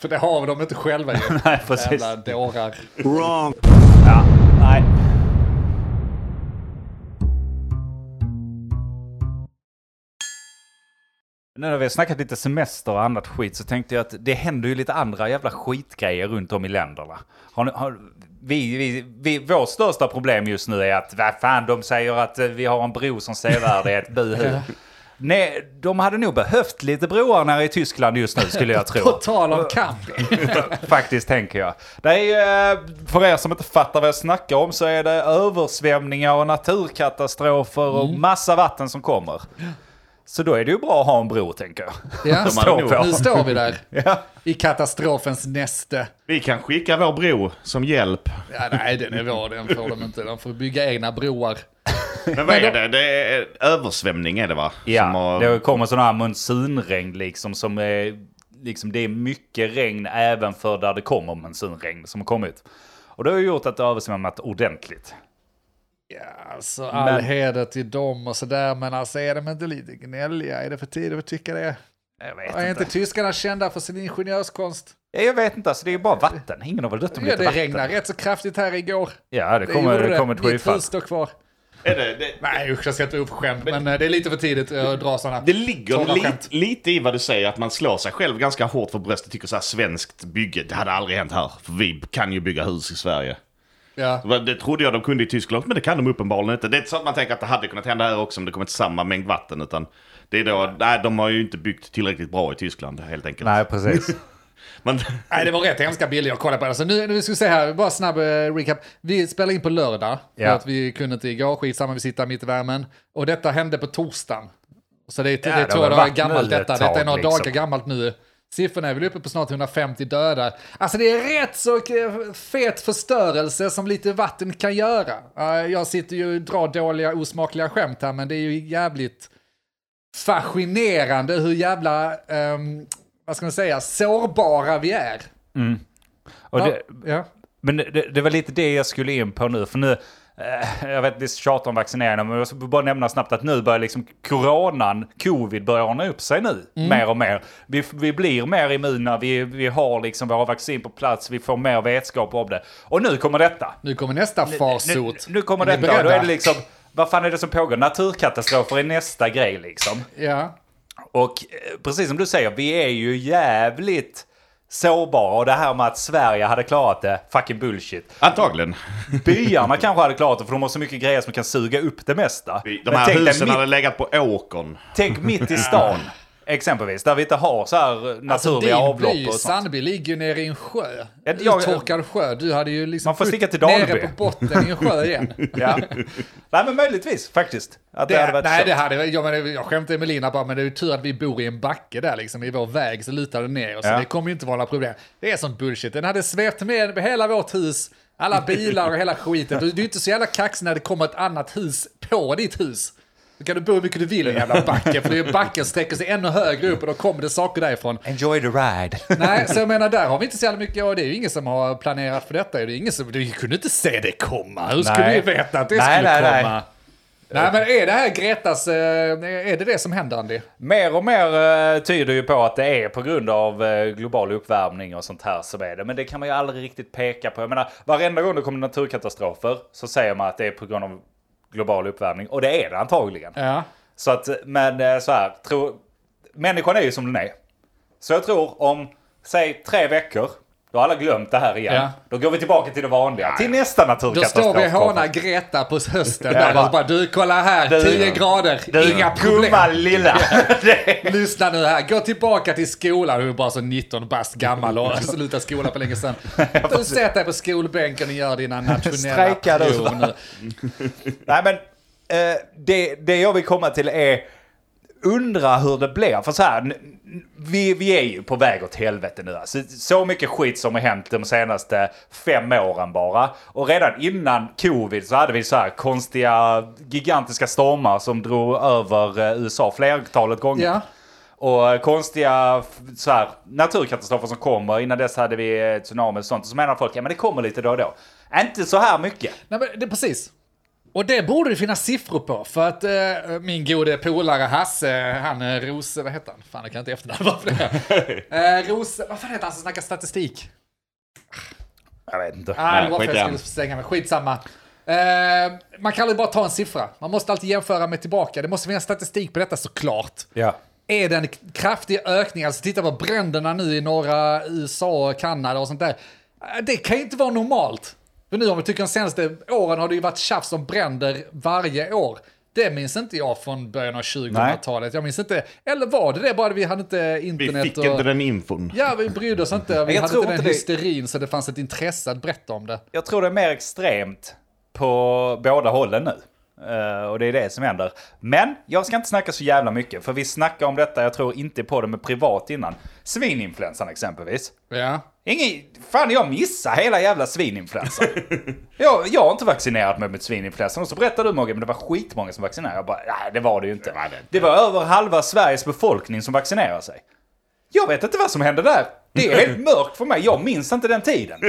B: För det har de inte själva ju.
D: Nej, precis.
B: Jävla dårar.
D: Ja, nej. Nu när vi har snackat lite semester och annat skit så tänkte jag att det händer ju lite andra jävla skitgrejer runt om i länderna. Har, ni- har, vi, vi, vi, vårt största problem just nu är att vad fan, de säger att eh, vi har en bro som sevärdighet, buhu. Nej, de hade nog behövt lite broar nere i Tyskland just nu skulle jag tro.
B: På tal om camping.
D: Faktiskt tänker jag. Det är, eh, för er som inte fattar vad jag snackar om så är det översvämningar och naturkatastrofer och massa vatten som kommer. Så då är det ju bra att ha en bro tänker jag.
B: Ja.
D: Att stå på.
B: Nu står vi där
D: Ja.
B: i katastrofens näste.
A: Vi kan skicka vår bro som hjälp.
B: Ja, nej, den är vår, den får de inte. De får bygga egna broar.
A: Men vad är det? Det är översvämning är det va? Som
D: Ja,
A: har-
D: det kommer sådana här monsunregn liksom som är, liksom det är mycket regn även för där det kommer monsunregn som har kommit. Och det har ju gjort att det har översvämmat ordentligt.
B: Ja, alltså all
D: Men-
B: heder till dem och sådär, men alltså är de inte lite gnälliga? Är det för tidigt att tycka det?
D: Jag
B: Är inte
D: vet inte.
B: tyskarna kända för sin ingenjörskonst?
D: Ja, Jag vet inte, alltså det är ju bara vatten. Ingen har väl dött om
B: Ja,
D: lite
B: det
D: vatten.
B: regnade rätt så kraftigt här igår.
D: Ja, det
B: Det
D: kommer,
B: gjorde
D: det kommer ett
B: Mitt
D: skyfall.
B: hus står kvar.
A: Är det, det...
B: Nej usch, jag ska inte vara uppskämd, men eh, det är lite för tidigt eh, att dra sådana.
A: Det ligger
B: torra
A: lit,
B: skämt.
A: lite i vad du säger, att man slår sig själv ganska hårt för bröstet. Tycker så här, svenskt bygge, det hade aldrig hänt här. För vi kan ju bygga hus i Sverige.
B: Ja.
A: Va, Det trodde jag de kunde i Tyskland, men det kan de uppenbarligen inte. Det är inte så att man tänker att det hade kunnat hända här också om det kommit samma mängd vatten. Utan det är då, nej, de har ju inte byggt tillräckligt bra i Tyskland helt enkelt.
D: Nej, precis.
A: Men,
B: Nej, det var rätt hemska bilder jag kollade på. Alltså, nu, nu ska vi se här, bara snabb eh, recap. Vi spelar in på lördag, för
D: Ja.
B: att vi kunde inte igår, skitsamma, vi sitter mitt i värmen. Och detta hände på torsdagen. Så det, är
D: Ja,
B: det är
D: det
B: två
D: har väl
B: dagar
D: varit nu
B: gammalt
D: ett
B: detta, detta är några
D: tag, liksom.
B: dagar gammalt nu. Siffrorna är väl uppe på snart 150 döda. Alltså det är rätt så eh, fet förstörelse som lite vatten kan göra. Eh, Jag sitter ju och drar dåliga osmakliga skämt här, men det är ju jävligt fascinerande hur jävla, ehm, vad ska man säga, sårbara vi är.
D: Och
B: Ja,
D: det,
B: ja.
D: men det, det var lite det jag skulle in på nu, för nu... eh, Jag vet, vi tjatar om vaccineringen, men jag ska bara nämna snabbt att nu börjar liksom coronan, covid, börjar ordna upp sig nu.
B: Mm.
D: Mer och mer. Vi, vi blir mer immuna, vi, vi har liksom våra vaccin på plats, vi får mer vetskap om det. Och nu kommer detta!
B: Nu kommer nästa
D: Nu,
B: farsot.
D: nu kommer
B: Är ni
D: detta, och då är
B: beredda?
D: det liksom... Vad fan är det som pågår? Naturkatastrofer är nästa grej liksom.
B: Ja.
D: Och eh, precis som du säger, vi är ju jävligt sårbara. Och det här med att Sverige hade klarat det, fucking bullshit.
A: antagligen.
D: Byarna kanske hade klarat det för de har så mycket grejer som kan suga upp det mesta.
A: De här
D: tänk, dig
A: husen
D: mitt,
A: hade legat på åkern.
D: tänk mitt i stan. Exempelvis, där vi inte har så här eh, naturliga
B: Alltså,
D: avlopp
B: by,
D: och sånt.
B: Sandby, ligger ju nere i en sjö.
D: Ja, jag-
B: Uttorkad sjö. Du hade ju liksom...
D: Man får
B: fot
D: sticka till
B: Nere
D: Dalby.
B: på botten i en sjö igen.
D: Ja. Nej men möjligtvis faktiskt. Att det, hade varit
B: nej,
D: så.
B: det hade jag, men jag skämtade med Lina bara, men det är ju tur att vi bor i en backe där liksom. I vår väg så lutar det ner, så
D: Ja.
B: det kommer ju inte vara några problem. Det är sånt bullshit. Den hade svept med hela vårt hus, alla bilar och hela skiten. Du, du är inte så jävla kaxig när det kommer ett annat hus på ditt hus. Då kan du bo hur mycket du vill i en jävla backe, för det är ju backen som sträcker sig ännu högre upp och då kommer det saker därifrån.
D: Enjoy the ride.
B: Nej, så jag menar där har vi inte så jävla mycket, och det är ju ingen som har planerat för detta. Det är ingen som, du kunde inte se det komma. Hur skulle
D: Nej.
B: vi veta att det
D: Nej,
B: skulle
D: nej, nej.
B: komma? Nej. men är det här Gretas, eh, är det det som händer Andy?
D: Mer och mer eh, tyder ju på att det är på grund av eh, global uppvärmning och sånt här som är det. Men det kan man ju aldrig riktigt peka på. Jag menar, varenda gång det kommer naturkatastrofer så säger man att det är på grund av global uppvärmning. Och det är det antagligen.
B: Ja.
D: Så att, men eh, så här, tro, människan är ju som den är. Så jag tror om, säg tre veckor, då har alla glömt det här igen.
B: Ja.
D: Då går vi tillbaka till det vanliga, till nästa
B: Då
D: naturkatastrof.
B: står vi och hånar
D: kommer.
B: Greta på hösten
D: Ja,
B: där
D: bara-
B: och bara du kolla här,
D: Du-
B: 10 grader,
D: Du,
B: inga problem.
D: Gumma lilla. Det är-
B: Lyssna nu här, gå tillbaka till skolan, du är bara så 19 bast gammal och har slutat skolan för länge sedan. Du sätter dig på skolbänken och gör dina nationella
D: Strejkar du, va?
B: prov nu.
D: Nej men, eh, det, det jag vill komma till är undra hur det blir. För så här, n- n- vi, vi är ju på väg åt helvete nu. Alltså, så mycket skit som har hänt de senaste fem åren bara. Och redan innan covid så hade vi så här konstiga, gigantiska stormar som drog över eh, USA flertalet gånger.
B: Ja.
D: Och eh, konstiga f- så här, naturkatastrofer som kommer. Innan dess hade vi eh, tsunami och sånt. Och så menar folk, ja men det kommer lite då och då. Inte så här mycket.
B: Nej, men det, precis. Och det borde det finnas siffror på, för att eh, min gode polare Hasse, han eh, Rose, vad heter han? Fan, jag kan inte efternamn varför det är. eh, Rose, vad fan heter han som snackar statistik?
D: Jag vet inte.
B: Ah, det var för
A: skit
B: att
A: i
B: jag
A: han.
B: skulle slänga mig, skitsamma. Eh, man kan aldrig bara ta en siffra, man måste alltid jämföra med tillbaka. Det måste finnas statistik på detta såklart.
D: Ja.
B: Är det en kraftig ökning, alltså titta på bränderna nu i norra USA, Kanada och sånt där. Eh, Det kan ju inte vara normalt. För nu om vi tycker de senaste åren har det ju varit tjafs om bränder varje år. Det minns inte jag från början av 2000-talet. Jag minns inte, eller var det det bara vi hade inte
A: Vi
B: internet?
A: fick
B: och...
A: inte den infon.
B: Ja, vi brydde oss inte. Vi
D: Jag
B: hade
D: tror
B: inte den
D: inte det-
B: hysterin så det fanns ett intresse att berätta om det.
D: Jag tror det är mer extremt på båda hållen nu. Eh, och det är det som händer. Men jag ska inte snacka så jävla mycket, för vi snackade om detta, jag tror inte på det med privat innan. Svininfluensan exempelvis.
B: Ja.
D: Ingen, fan jag missade hela jävla svininfluensan. jag, jag har inte vaccinerat mig mot svininfluensan. Och så berättade du Morgan, men det var skitmånga som vaccinerade. Jag bara, nej det var det ju inte. Det var, över halva Sveriges befolkning som vaccinerade sig. Jag vet inte vad som hände där. Det är helt mörkt för mig, jag minns inte den tiden.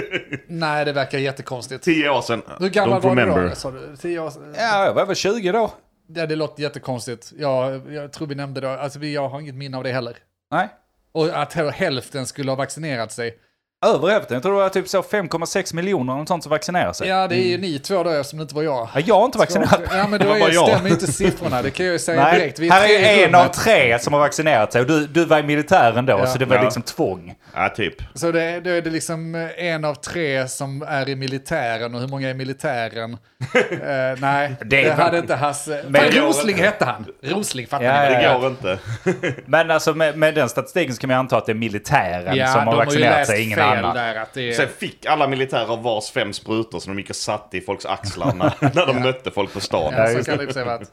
B: Nej, det verkar jättekonstigt.
A: Tio år sedan.
B: Hur gammal
A: Don't
B: var du
A: remember.
B: då? alltså? Sa du? Tio år sedan?
D: Ja, jag var över 20 då.
B: Ja, det låter jättekonstigt. Jag, jag tror vi nämnde det. Alltså, vi, jag har inget minne av det heller.
D: Nej.
B: Och att hälften skulle ha vaccinerat sig.
D: Över hälften. Jag tror det var typ så 5,6 miljoner eller något sånt som vaccinerar sig.
B: Ja, det är ju ni två då eftersom det inte var jag.
D: Ja, Mm. Jag har inte vaccinerat mig.
B: Ja, men då
A: Vad var
B: är,
A: jag?
B: stämmer ju inte siffrorna. Det kan jag ju säga
D: Nej,
B: direkt. Vi är
D: här
B: tre i
D: är en av
B: rummet.
D: tre som har vaccinerat sig och du, du var i militären då,
B: Ja.
D: så det var
A: Ja.
D: liksom tvång.
A: Ja, typ.
B: Så det, då är det liksom eh, en av tre som är i militären och hur många är i militären? Eh, nej, det,
D: Det är väl-
B: hade inte Hasse.
D: Men
B: Men
A: jag-
B: Rosling hette han. Rosling, fattar
D: Ja,
B: ni?
D: ja,
B: väl?
A: Det
D: ja.
A: går inte.
D: Men alltså med, med den statistiken så kan man anta att det är militären som har vaccinerat sig, ingen
B: fel
D: annan.
B: där att det
A: Sen
B: är...
A: fick alla militärer vars fem sprutor som de gick och satte i folks axlar när, när de mötte folk på stan.
B: Ja, så
D: just
B: kan det i och för sig vara att-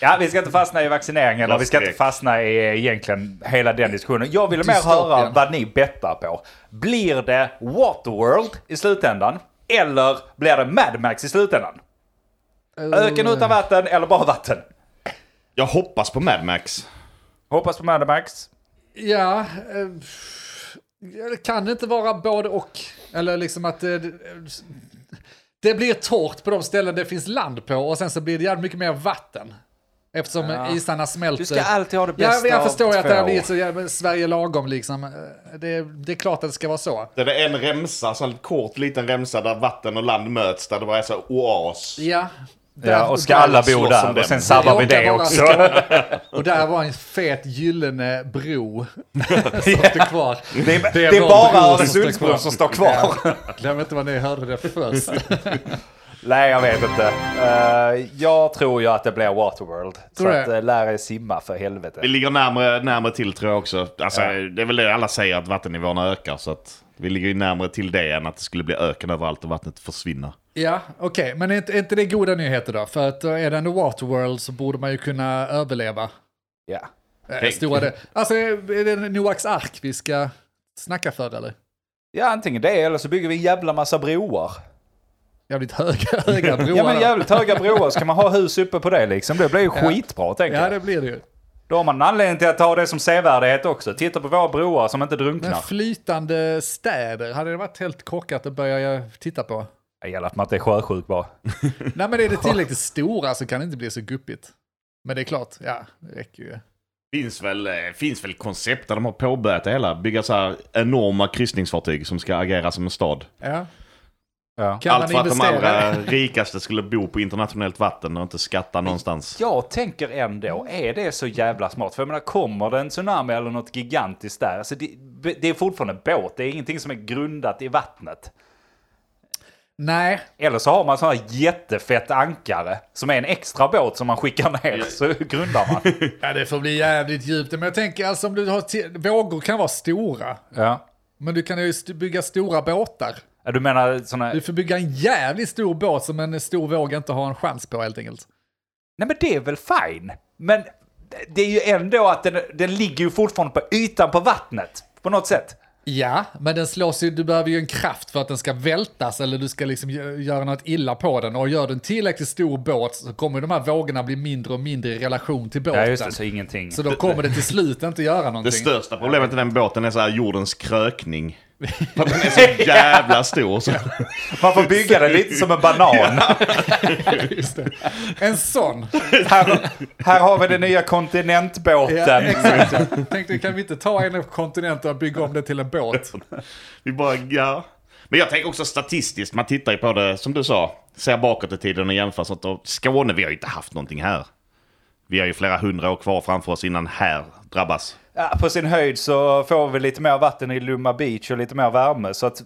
D: Ja, vi ska inte fastna i vaccineringen eller vi ska inte
A: Lastdräkt.
D: fastna i eh, egentligen hela den diskussionen. Jag vill mer
B: Dystopien.
D: höra vad ni bettar på. Blir det Waterworld i slutändan? Eller blir det Mad Max i slutändan? Öken utan vatten eller bara vatten?
A: Jag hoppas på Mad Max.
D: Hoppas på Mad Max.
B: Ja, eh, pff, kan det inte vara både och? Eller liksom att eh, det, det blir torrt på de ställen det finns land på och sen så blir det jävligt mycket mer vatten. Eftersom eh, isarna smälter.
D: Du ska alltid ha det bästa
B: ja, Jag
D: av
B: förstår ju att det
D: två.
B: har blivit så jävla Sverige lagom liksom. Eh, Det, det är klart att det ska vara så.
A: Det är en remsa, så en kort liten remsa där vatten och land möts, där det bara är så här oas.
B: Ja. Där-
D: Ja, och ska alla bo
A: slåss om
D: där
A: den.
D: och sen sabbar vi
B: Det
D: det
B: råkar vara
D: också.
B: Och där var en fet gyllene bro som stod kvar.
D: Det är, det
B: vår
D: är bara
B: bro som står kvar.
D: Öresundsbron som står kvar.
B: Glöm inte vad ni hörde det först.
D: Nej, jag vet inte. Eh, jag tror ju att det blir Waterworld.
B: Tror
D: så
B: du
D: att
B: det?
D: uh, lära er simma för helvete.
A: Vi ligger närmare, närmare till tror jag också. Alltså, Det är väl det alla säger, att vattennivåerna ökar. Så att vi ligger ju närmare till det än att det skulle bli öken överallt och vattnet försvinner.
B: Ja, okej. Men är inte, är inte det goda nyheter då? För att eh, är det en Waterworld så borde man ju kunna överleva.
D: Ja.
B: Äh,
A: Tänk.
B: stora del. Alltså, är är det en Noaks ark vi ska snacka för eller?
D: ja, antingen det eller så bygger vi en jävla massa broar.
B: Jävligt höga, höga broar.
D: Ja, men
B: då.
D: jävligt höga broar så kan man ha hus uppe på det liksom. Det blir ju skitbra, tänker
B: ja,
D: jag.
B: det blir det ju.
D: Då har man en anledning till att ha det som sevärdighet också. Titta på våra broar som inte
B: Men
D: drunknar.
B: flytande städer, hade det varit helt korkat att börja eh, titta på?
D: Det gäller att man inte är sjösjuk bara.
B: Nej, men är det tillräckligt stora så kan det inte bli så guppigt. Men det är klart, ja, det räcker ju.
A: Finns väl, eh, finns väl koncept där de har påbörjat det hela. Bygga så här enorma kryssningsfartyg som ska agera som en stad.
B: Ja.
D: Ja.
B: Kan
A: Allt för
B: man
A: att de
B: investera?
A: allra rikaste skulle bo på internationellt vatten och inte skatta någonstans.
D: Jag tänker ändå, är det så jävla smart? För jag menar, kommer det en tsunami eller något gigantiskt där? Alltså, det, det är fortfarande en båt, det är ingenting som är grundat i vattnet.
B: Nej,
D: Eller så har man sådana jättefett ankare som är en extra båt som man skickar ner så grundar man.
B: ja, det får bli jävligt djupt. Men jag tänker alltså om du har, ti- vågor kan vara stora.
D: Ja.
B: Men du kan ju st- bygga stora båtar.
D: Du menar sådana...
B: Du får bygga en jävligt stor båt som en stor våg inte har en chans på helt enkelt.
D: Nej men det är väl fine. Men det är ju ändå att den, den ligger ju fortfarande på ytan på vattnet. På något sätt.
B: Ja, men den slås ju, du behöver ju en kraft för att den ska vältas eller du ska liksom gö- göra något illa på den. Och gör du en tillräckligt stor båt så kommer de här vågorna bli mindre och mindre i relation till båten.
D: Ja just det, så ingenting.
B: Så då kommer det till slut inte göra
A: Det
B: någonting.
A: största problemet i den båten är så här jordens krökning. För att den är så jävla stor. Så.
D: Man får bygga den lite som en banan.
B: Just det. En sån.
D: Här, här har vi den nya
B: Ja,
D: kontinentbåten.
B: exakt. Jag Tänkte, kan vi inte ta en av kontinenterna och bygga om det till en båt?
A: Vi bara, ja. Men jag tänker också statistiskt, man tittar ju på det som du sa. Ser bakåt i tiden och jämför sånt. Och Skåne, vi har ju inte haft någonting här. Vi har ju flera hundra år kvar framför oss innan här drabbas.
D: Ja, på sin höjd så får vi lite mer vatten i Lumma Beach och lite mer värme. Så att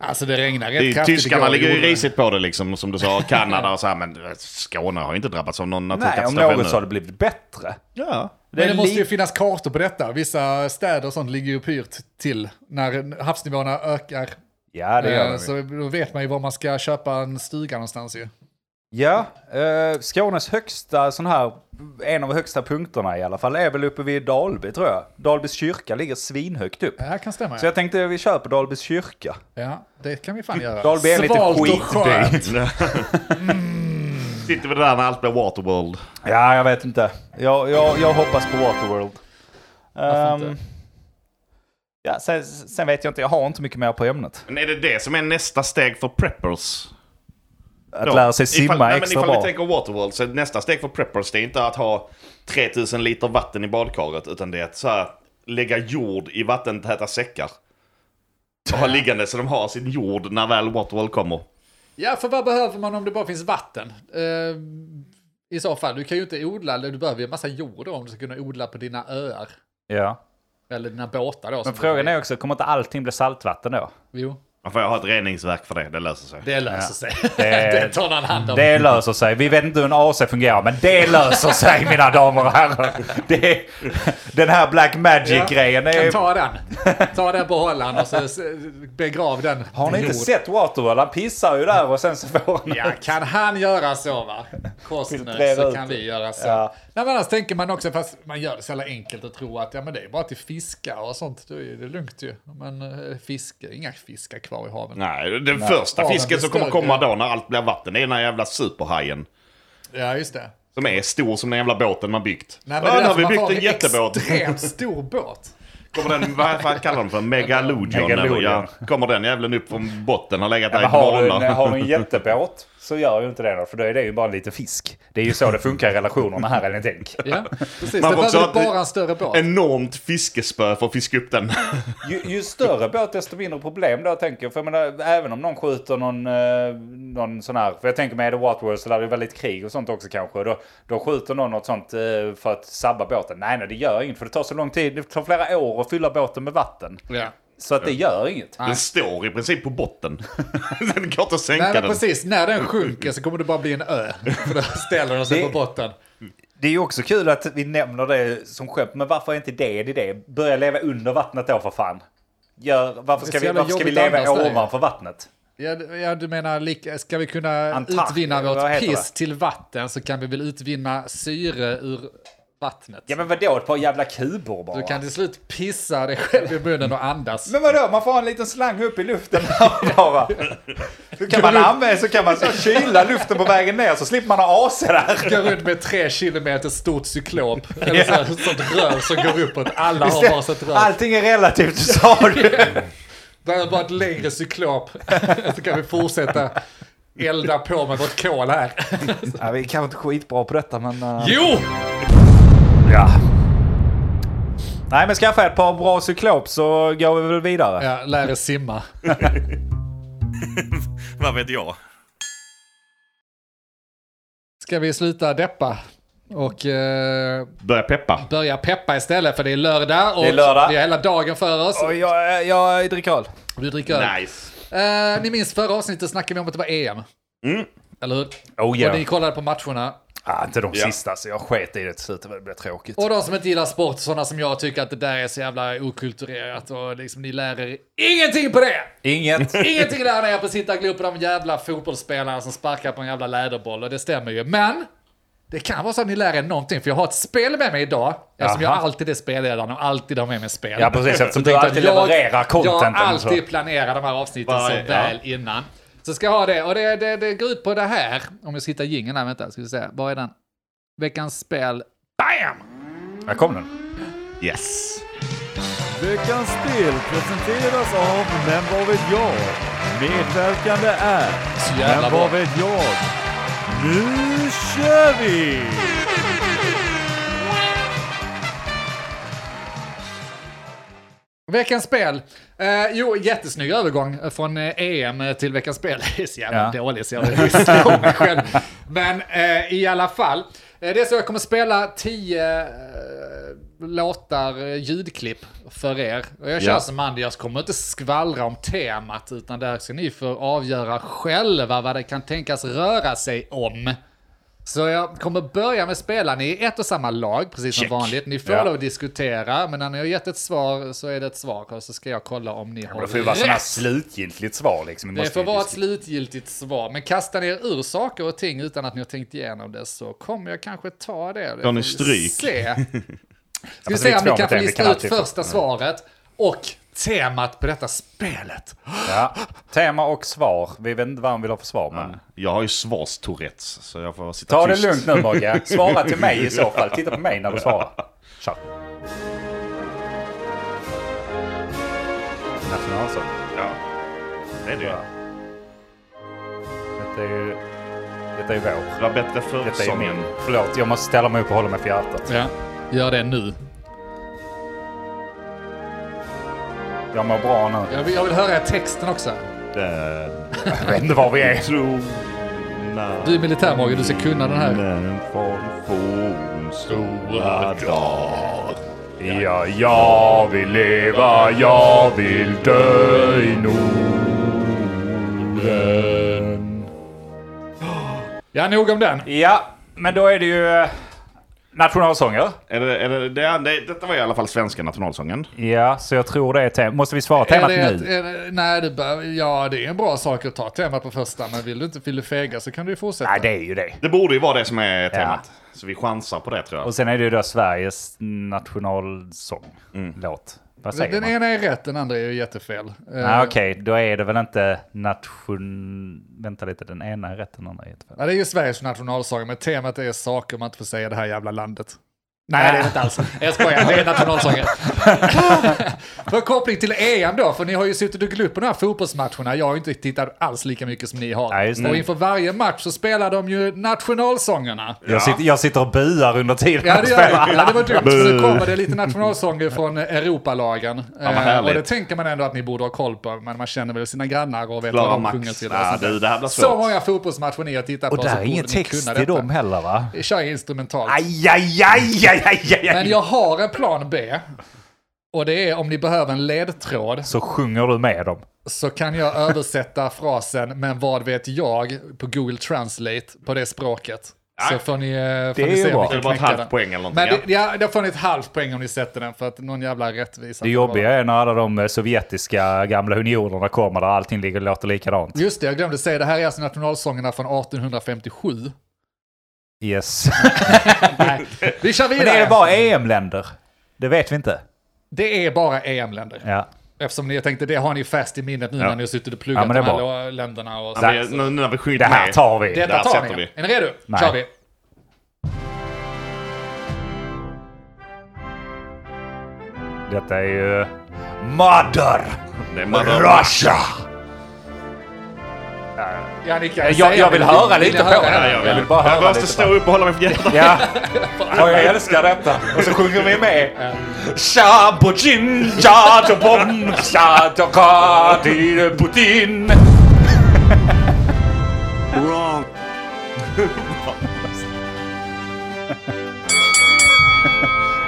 B: Alltså det regnar rätt
A: Det är,
B: kraftigt.
A: tyskarna
B: igår.
A: ligger ju risigt på det liksom, som du sa. Kanada och så här, men eh, Skåne har ju inte drabbats av någon
D: Nej, om
A: naturkatastrof
D: något
A: ännu.
D: så har det blivit bättre.
A: Ja.
B: Men det måste ju
D: li-
B: finnas kartor på detta. Vissa städer och sånt ligger ju pyrt till när havsnivåerna ökar.
D: Ja, det gör
B: Eh,
D: det.
B: Så då vet man ju var man ska köpa en stuga någonstans ju.
D: Ja, eh, Skånes högsta sån här, en av de högsta punkterna i alla fall, är väl uppe vid Dalby tror jag. Dalbys kyrka ligger svinhögt upp.
B: Det här kan stämma.
D: Så
B: Ja.
D: jag tänkte vi kör på Dalbys kyrka.
B: ja, det kan vi fan göra.
D: Dalby är lite
B: Svalt och
D: skitby.
B: skönt.
A: Sitter vi där när allt blir Waterworld.
D: Ja, jag vet inte. Jag, jag, jag hoppas på Waterworld.
B: Varför
D: Ehm,
B: inte?
D: ja, sen, sen vet jag inte, jag har inte mycket mer på ämnet.
A: Men är det det som är nästa steg för preppers?
D: Att
A: Då,
D: lära sig simma
A: ifall, nej, men
D: extra
A: ifall
D: bra.
A: vi tänker Waterworld så är nästa steg för preppers det är inte att ha 3000 liter vatten i badkaret utan det är att så här, lägga jord i vattentäta säckar. Och ha liggande så de har sin jord när väl Waterworld kommer.
B: Ja, för vad behöver man om det bara finns vatten? Eh, I så fall, du kan ju inte odla, eller du behöver ju en massa jord då, om du ska kunna odla på dina öar.
D: Ja.
B: Eller dina båtar då.
D: Men frågan är också, kommer inte allting bli saltvatten då?
B: Jo,
A: Man får ha ett reningsverk för det, det löser sig.
B: det löser sig.
D: Det-
B: det tar någon hand om.
D: Det löser sig. Vi vet inte hur en AC fungerar, men det löser sig mina damer och herrar. Det, den här Black Magic-grejen. det
B: Kan
D: är-
B: ta den. Ta den behållaren och så s- begrav den.
D: Har ni inte sett Waterworld? Han pissar ju där och sen så får han...
B: Ja, kan han göra så va? Kostner
D: Filtrera
B: så
D: ut
B: kan
D: det.
B: vi göra så.
D: Ja.
B: Nej, men annars tänker man också, fast man gör det så jävla enkelt att tro att ja, men det är bara till fiskar och sånt, då är det lugnt ju. Men eh, fiskar, inga fiskar kvar i haven.
A: Nej, den första
B: Ja, men
A: fisken
B: det
A: som kommer
B: stör
A: komma
B: det.
A: då när allt blir vatten det är den här jävla superhajen.
B: Ja, just det.
A: Som är stor som den jävla båten man byggt.
B: Nej,
A: ja,
B: det är
A: nu har
B: därför
A: vi
B: man
A: byggt
B: får
A: en jättebåt.
B: extremt stor båt.
A: Kommer den, vad fan kallar de för? Megalodion?
D: Megalodion.
A: eller? Ja, kommer den jäveln upp från botten och legat där i
D: Men har, du,
A: månader?
D: en- har du en jättebåt så gör ju inte det då, för då är det ju bara lite fisk. Det är ju så det funkar i relationerna här, eller tänk.
B: Ja, precis.
A: Man
B: Man det
A: får också
B: behöver
A: ha ett-
B: bara en större båt.
A: enormt fiskespö för att fiska upp den.
D: Ju, ju större båt desto mindre problem då tänker jag. För jag menar, även om någon skjuter någon, eh, någon sån här. För jag tänker mig är det Waterworld så lär det vara lite krig och sånt också kanske. Då, då skjuter någon något sånt eh, för att sabba båten. Nej, nej det gör inget. För det tar så lång tid. Det tar flera år att fylla båten med vatten.
B: Ja.
D: Så att det gör inget.
A: Den står i princip på botten. Den går inte att sänka
B: Nej, men
A: den.
B: precis. När den sjunker så kommer det bara bli en ö. För då ställer den sig
D: Det-
B: på botten.
D: Det är ju också kul att vi nämner det som skämt. Men varför är inte det en idé? Börja leva under vattnet då för fan. Gör, varför
B: Det är
D: ska
B: så
D: vi,
B: jävla
D: varför ska vi
B: jobbigt
D: leva
B: annars, det är.
D: ovanför vattnet?
B: Ja, du- ja, du menar, lika- ska vi kunna
D: Antark-
B: utvinna
D: vad
B: vårt
D: heter
B: piss till vatten så kan vi väl utvinna syre ur vattnet.
D: Ja men vadå, ett par jävla kubor bara.
B: Du kan till slut pissa dig själv i munnen och andas.
D: Men vadå, man får ha en liten slang upp i luften här bara. Så kan man använda, så kan man så kyla luften på vägen ner så slipper man ha AC där.
B: Går runt med tre kilometer stort cyklop. Eller så här, sånt rör som går uppåt. Alla har bara sånt rör.
D: Allting är relativt, sa du.
B: Det är bara ett längre cyklop. Så kan vi fortsätta elda på med vårt kol här.
D: Ja, vi är kanske inte skitbra på detta men... eh,
B: Jo!
D: Ja. Nej men skaffa ett par bra cyklop så går vi väl vidare.
B: Ja, lär er simma.
C: Vad vet jag?
B: Ska vi sluta deppa? Och eh,
A: Börja peppa.
B: börja peppa istället för det är lördag och
D: Det är lördag.
B: vi har hela dagen för oss.
D: Och jag, jag dricker öl.
B: Du dricker öl.
A: Nice.
B: Eh, ni minns förra avsnittet snackade vi om att det var EM. Eller hur?
D: Mm. Oh
B: Och ni kollade på matcherna.
D: Ah, inte de
A: Ja.
D: sista så jag sket i det till slut, det blev tråkigt.
B: Och de som inte gillar sport, sådana som jag, tycker att det där är så jävla okulturerat och liksom ni lär er ingenting på det!
D: Inget.
B: Ingenting lär ni er på sittarglo på de jävla fotbollsspelarna som sparkar på en jävla läderboll och det stämmer ju. Men! Det kan vara så att ni lär er någonting, för jag har ett spel med mig idag. Eftersom jag
D: Jaha.
B: alltid är spelledaren och alltid har med mig spel.
D: Ja precis, eftersom du
B: Jag tänkte
D: alltid
B: att jag-
D: levererar alltså. contenten.
B: Jag
D: så.
B: alltid planerar de här avsnitten
A: Bara-
B: så
A: ja.
B: väl innan. Så ska jag ha det, och det, det, det går ut på det här. Om jag ska hitta jingeln här, vänta, ska vi se. Var är den? Veckans spel. BAM!
D: Där kom den.
A: Yes.
E: Veckans spel presenteras av Men vad vet jag? Medverkande är
B: Så jävla
E: Men
B: bra.
E: vad vet jag? Nu kör vi!
B: Veckans spel. Eh, jo, jättesnygg övergång från eh, EM till veckans spel. Det är så jävla
D: Ja.
B: dålig så jag vill slå mig själv. Men eh, i alla fall. Eh, det är så jag kommer spela tio eh, låtar, eh, ljudklipp för er. Och jag kör
A: Ja.
B: som Andy, jag kommer inte skvallra om temat, utan där ska ni få avgöra själva vad det kan tänkas röra sig om. Så jag kommer börja med att spela. Ni är ett och samma lag, precis som vanligt. Ni får
D: Ja.
B: lov att diskutera, men när ni har gett ett svar så är det ett svar. Och så ska jag kolla om ni har
C: Det får ju vara sådana här
B: rätt.
C: slutgiltigt svar liksom. Vi
B: Det
C: måste
B: får
C: ju
B: vara ett
C: dis-
B: slutgiltigt svar. Men kastar ni er ur saker och ting utan att ni har tänkt igenom det så kommer jag kanske ta det. Det
A: Får ni
B: får vi
A: stryk?
B: Se. Ska vi
C: fast Alltså, vi
B: se
C: är
B: om vi
C: två
B: kan
C: mot
B: få
C: en, vi
B: lista
C: kan
B: ut
C: alltid få-
B: första svaret och temat på detta spelet.
D: Ja. Tema och svar. Vi vet inte vad han vill ha för svar. Men...
A: Jag har ju svars-tourettes, så jag får sitta
D: Ta det
A: tyst.
D: lugnt nu Mogge. Svara till mig i så fall. Titta på mig när du svarar. Kör. Nationalsång.
A: Ja. Det är det ju.
D: Detta är ju... Detta är vår.
A: Det var bättre för
D: Detta är min.
A: sången.
D: Förlåt, jag måste ställa mig upp och hålla mig för hjärtat.
B: Ja, gör det nu.
D: Jag mår bra nu.
B: Jag vill, jag vill höra texten också.
A: Den
D: Jag vet inte var vi är.
A: trogna
B: Du är militär Morgan, du ska kunna den här.
A: vännen från fornstora dagar.
D: Ja, jag vill leva, jag vill dö i Norden.
B: Ja, nog om den.
D: Ja, men då är det ju eh, nationalsånger.
A: Är det, är det, det, är- det, detta var i alla fall svenska nationalsången.
D: Ja, så jag tror det är temat. Måste vi svara temat
B: Är det ett-
D: nu?
B: är det, nej, det bör, ja, det är en bra sak att ta temat på första, men vill du inte vill du fega så kan du ju fortsätta.
D: Nej, det är ju det.
A: Det borde ju vara det som är temat. Så vi chansar på det tror jag.
D: Och sen är det ju då Sveriges nationalsång. Låt. Vad säger
B: Den
D: man?
B: ena är rätt, den andra är ju jättefel.
D: Ah,
B: Eh,
D: Okej, då är det väl inte nation... Vänta lite, den ena är rätt, den andra är jättefel.
B: ja, det är ju Sveriges nationalsång, men temat är saker man inte får säga i det här jävla landet. Nej, det är det inte alls. Jag skojar, det är nationalsången. för koppling till EM då, för ni har ju suttit och glott på de här fotbollsmatcherna. Jag har ju inte tittat alls lika mycket som ni har.
D: Nej, just det.
B: och inför varje match så spelar de ju nationalsångerna.
D: Jag, sitter, jag sitter och buar under tiden
B: Ja,
D: jag
B: det, gör
D: spelar.
B: det. ja, det var dumt. För nu kommer det lite nationalsånger från eh, Europalagen.
A: vad
B: Eh, och
A: härligt.
B: det tänker man ändå att ni borde ha koll på, men man känner väl sina grannar och vet
A: Klara
B: vad de
A: Max.
B: sjunger till. och
A: Ja,
B: sånt där.
A: du, det här blir
B: så
A: svårt.
B: många fotbollsmatcher ni har tittat på
D: Och där
B: så
D: är
B: borde
D: ingen
B: ni
D: text
B: kunna
D: i
B: detta.
D: dem heller va?
B: Kör instrumentalt.
D: Aj, aj, aj, aj, aj, aj,
B: Men
D: aj.
B: jag har en plan B. Och det är om ni behöver en ledtråd
D: Så sjunger du med dem.
B: så kan jag översätta frasen “men vad vet jag” på Google Translate på det språket. Så får ni, eh, får
D: är
B: ni
D: ju
B: se om ni
D: bra.
A: Det är bara
B: kan
A: ett
B: knäcka
A: halvt
B: den.
A: poäng eller någonting.
B: Men det, ja, då får ni ett halvt poäng om ni sätter den för att någon jävla rättvisa.
D: Det jobbiga är när alla de eh, sovjetiska gamla unionerna kommer där allting ligger och låter likadant.
B: Just det, jag glömde säga, det här är alltså nationalsångerna från 1857.
D: Yes.
B: Vi kör vidare!
D: Men är det bara EM-länder? Det vet vi inte.
B: Det är bara EM-länder.
D: Ja.
B: Eftersom jag tänkte, det har ni fäst i minnet nu när ni har suttit och
D: Ja,
B: pluggat
D: men
B: de
D: det är
B: här
D: bra.
B: lo- länderna. Och
A: Ja, men nu, nu när vi skyllt
D: Det här
A: med-
D: tar vi.
B: Detta
A: där
B: tar
A: sätter
B: ni.
A: vi.
B: Är ni redo?
D: Nej.
B: kör vi.
D: Detta är ju... eh, Mother
A: Det är Madonna.
D: Russia!
B: Ja, ni kan
D: Jag, jag vill
B: det.
D: höra
B: Vill ni
D: lite på
B: höra
D: det.
B: det?
A: Jag vill
D: bara
A: Jag
D: höra
A: måste
D: lite.
A: stå upp och hålla mig för hjärtat.
D: Ja. Och jag älskar detta. Och så sjunger vi med. Shabochin, jatobom, shatokati, Putin.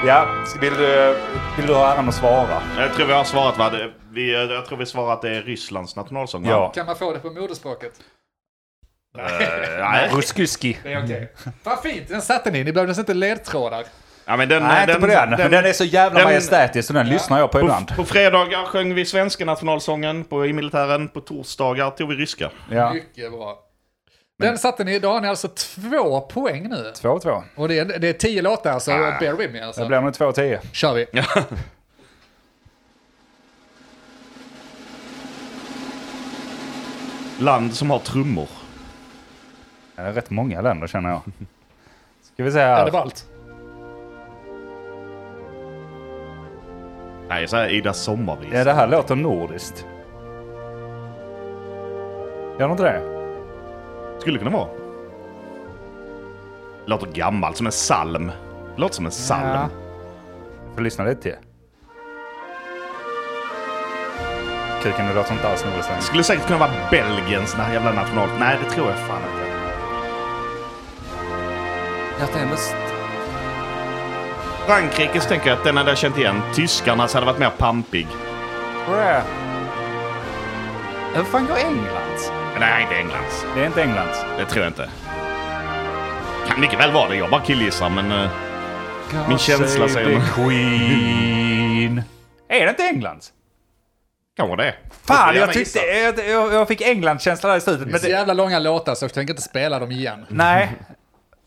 D: Ja, vill du, vill du ha äran att svara?
A: Jag tror vi har svarat va? Det- Vi, jag tror vi svarar att det är Rysslands nationalsång va?
D: Ja.
B: Kan man få det på moderspråket?
A: Eh, nej.
D: Ruskuski.
B: Det är okej.
D: Mm.
B: Vad fint, den satte ni. Ni behövde alltså inte ledtrådar.
A: Ja, men den,
D: Nej, inte på den. Men den är så jävla
A: den-
D: majestätisk så den lyssnar jag på ibland.
A: På fredagar sjöng vi svenska nationalsången på, i militären. På torsdagar tog vi ryska.
D: Ja.
B: Mycket bra. Den satte ni. Då har ni alltså två poäng nu.
D: 2-2.
B: Och det är, det är tio låtar, så bear with me alltså.
D: Det Ah. blir nog 2-10.
B: Kör vi.
A: Land som har trummor.
D: Det är rätt många länder känner jag. Ska vi se
B: Ja, det
D: här.
B: var allt.
A: Nej, så här Ida Sommarvis.
D: Ja, det här låter nordiskt. Gör det inte det?
A: Skulle kunna vara. Låter gammalt, som en psalm. Låter som en psalm.
D: Ja. Får lyssna lite till. Kuken, det låter inte alls nordiskt längre.
A: Skulle säkert kunna vara Belgiens na- jävla national... Nej, det tror jag fan inte.
D: Jag tänkte...
A: Frankrikes tänker jag att den hade jag känt igen. Tyskarnas hade varit mer pampig.
D: Brä. Hur fan går Englands?
A: Men nej, inte Englands.
D: Det är inte Englands.
A: Det tror jag inte. Kan mycket väl vara det. Jag bara killgissar, men... eh, Min känsla säger mig.
D: Queen. Är det inte Englands?
A: Kanske det.
D: Fan,
A: får gärna
D: jag, tyckte,
A: gissa.
D: jag, jag, jag fick England-känsla där i slutet. Men
B: Så
D: det,
B: jävla långa låtar så jag tänker inte spela dem igen.
D: nej.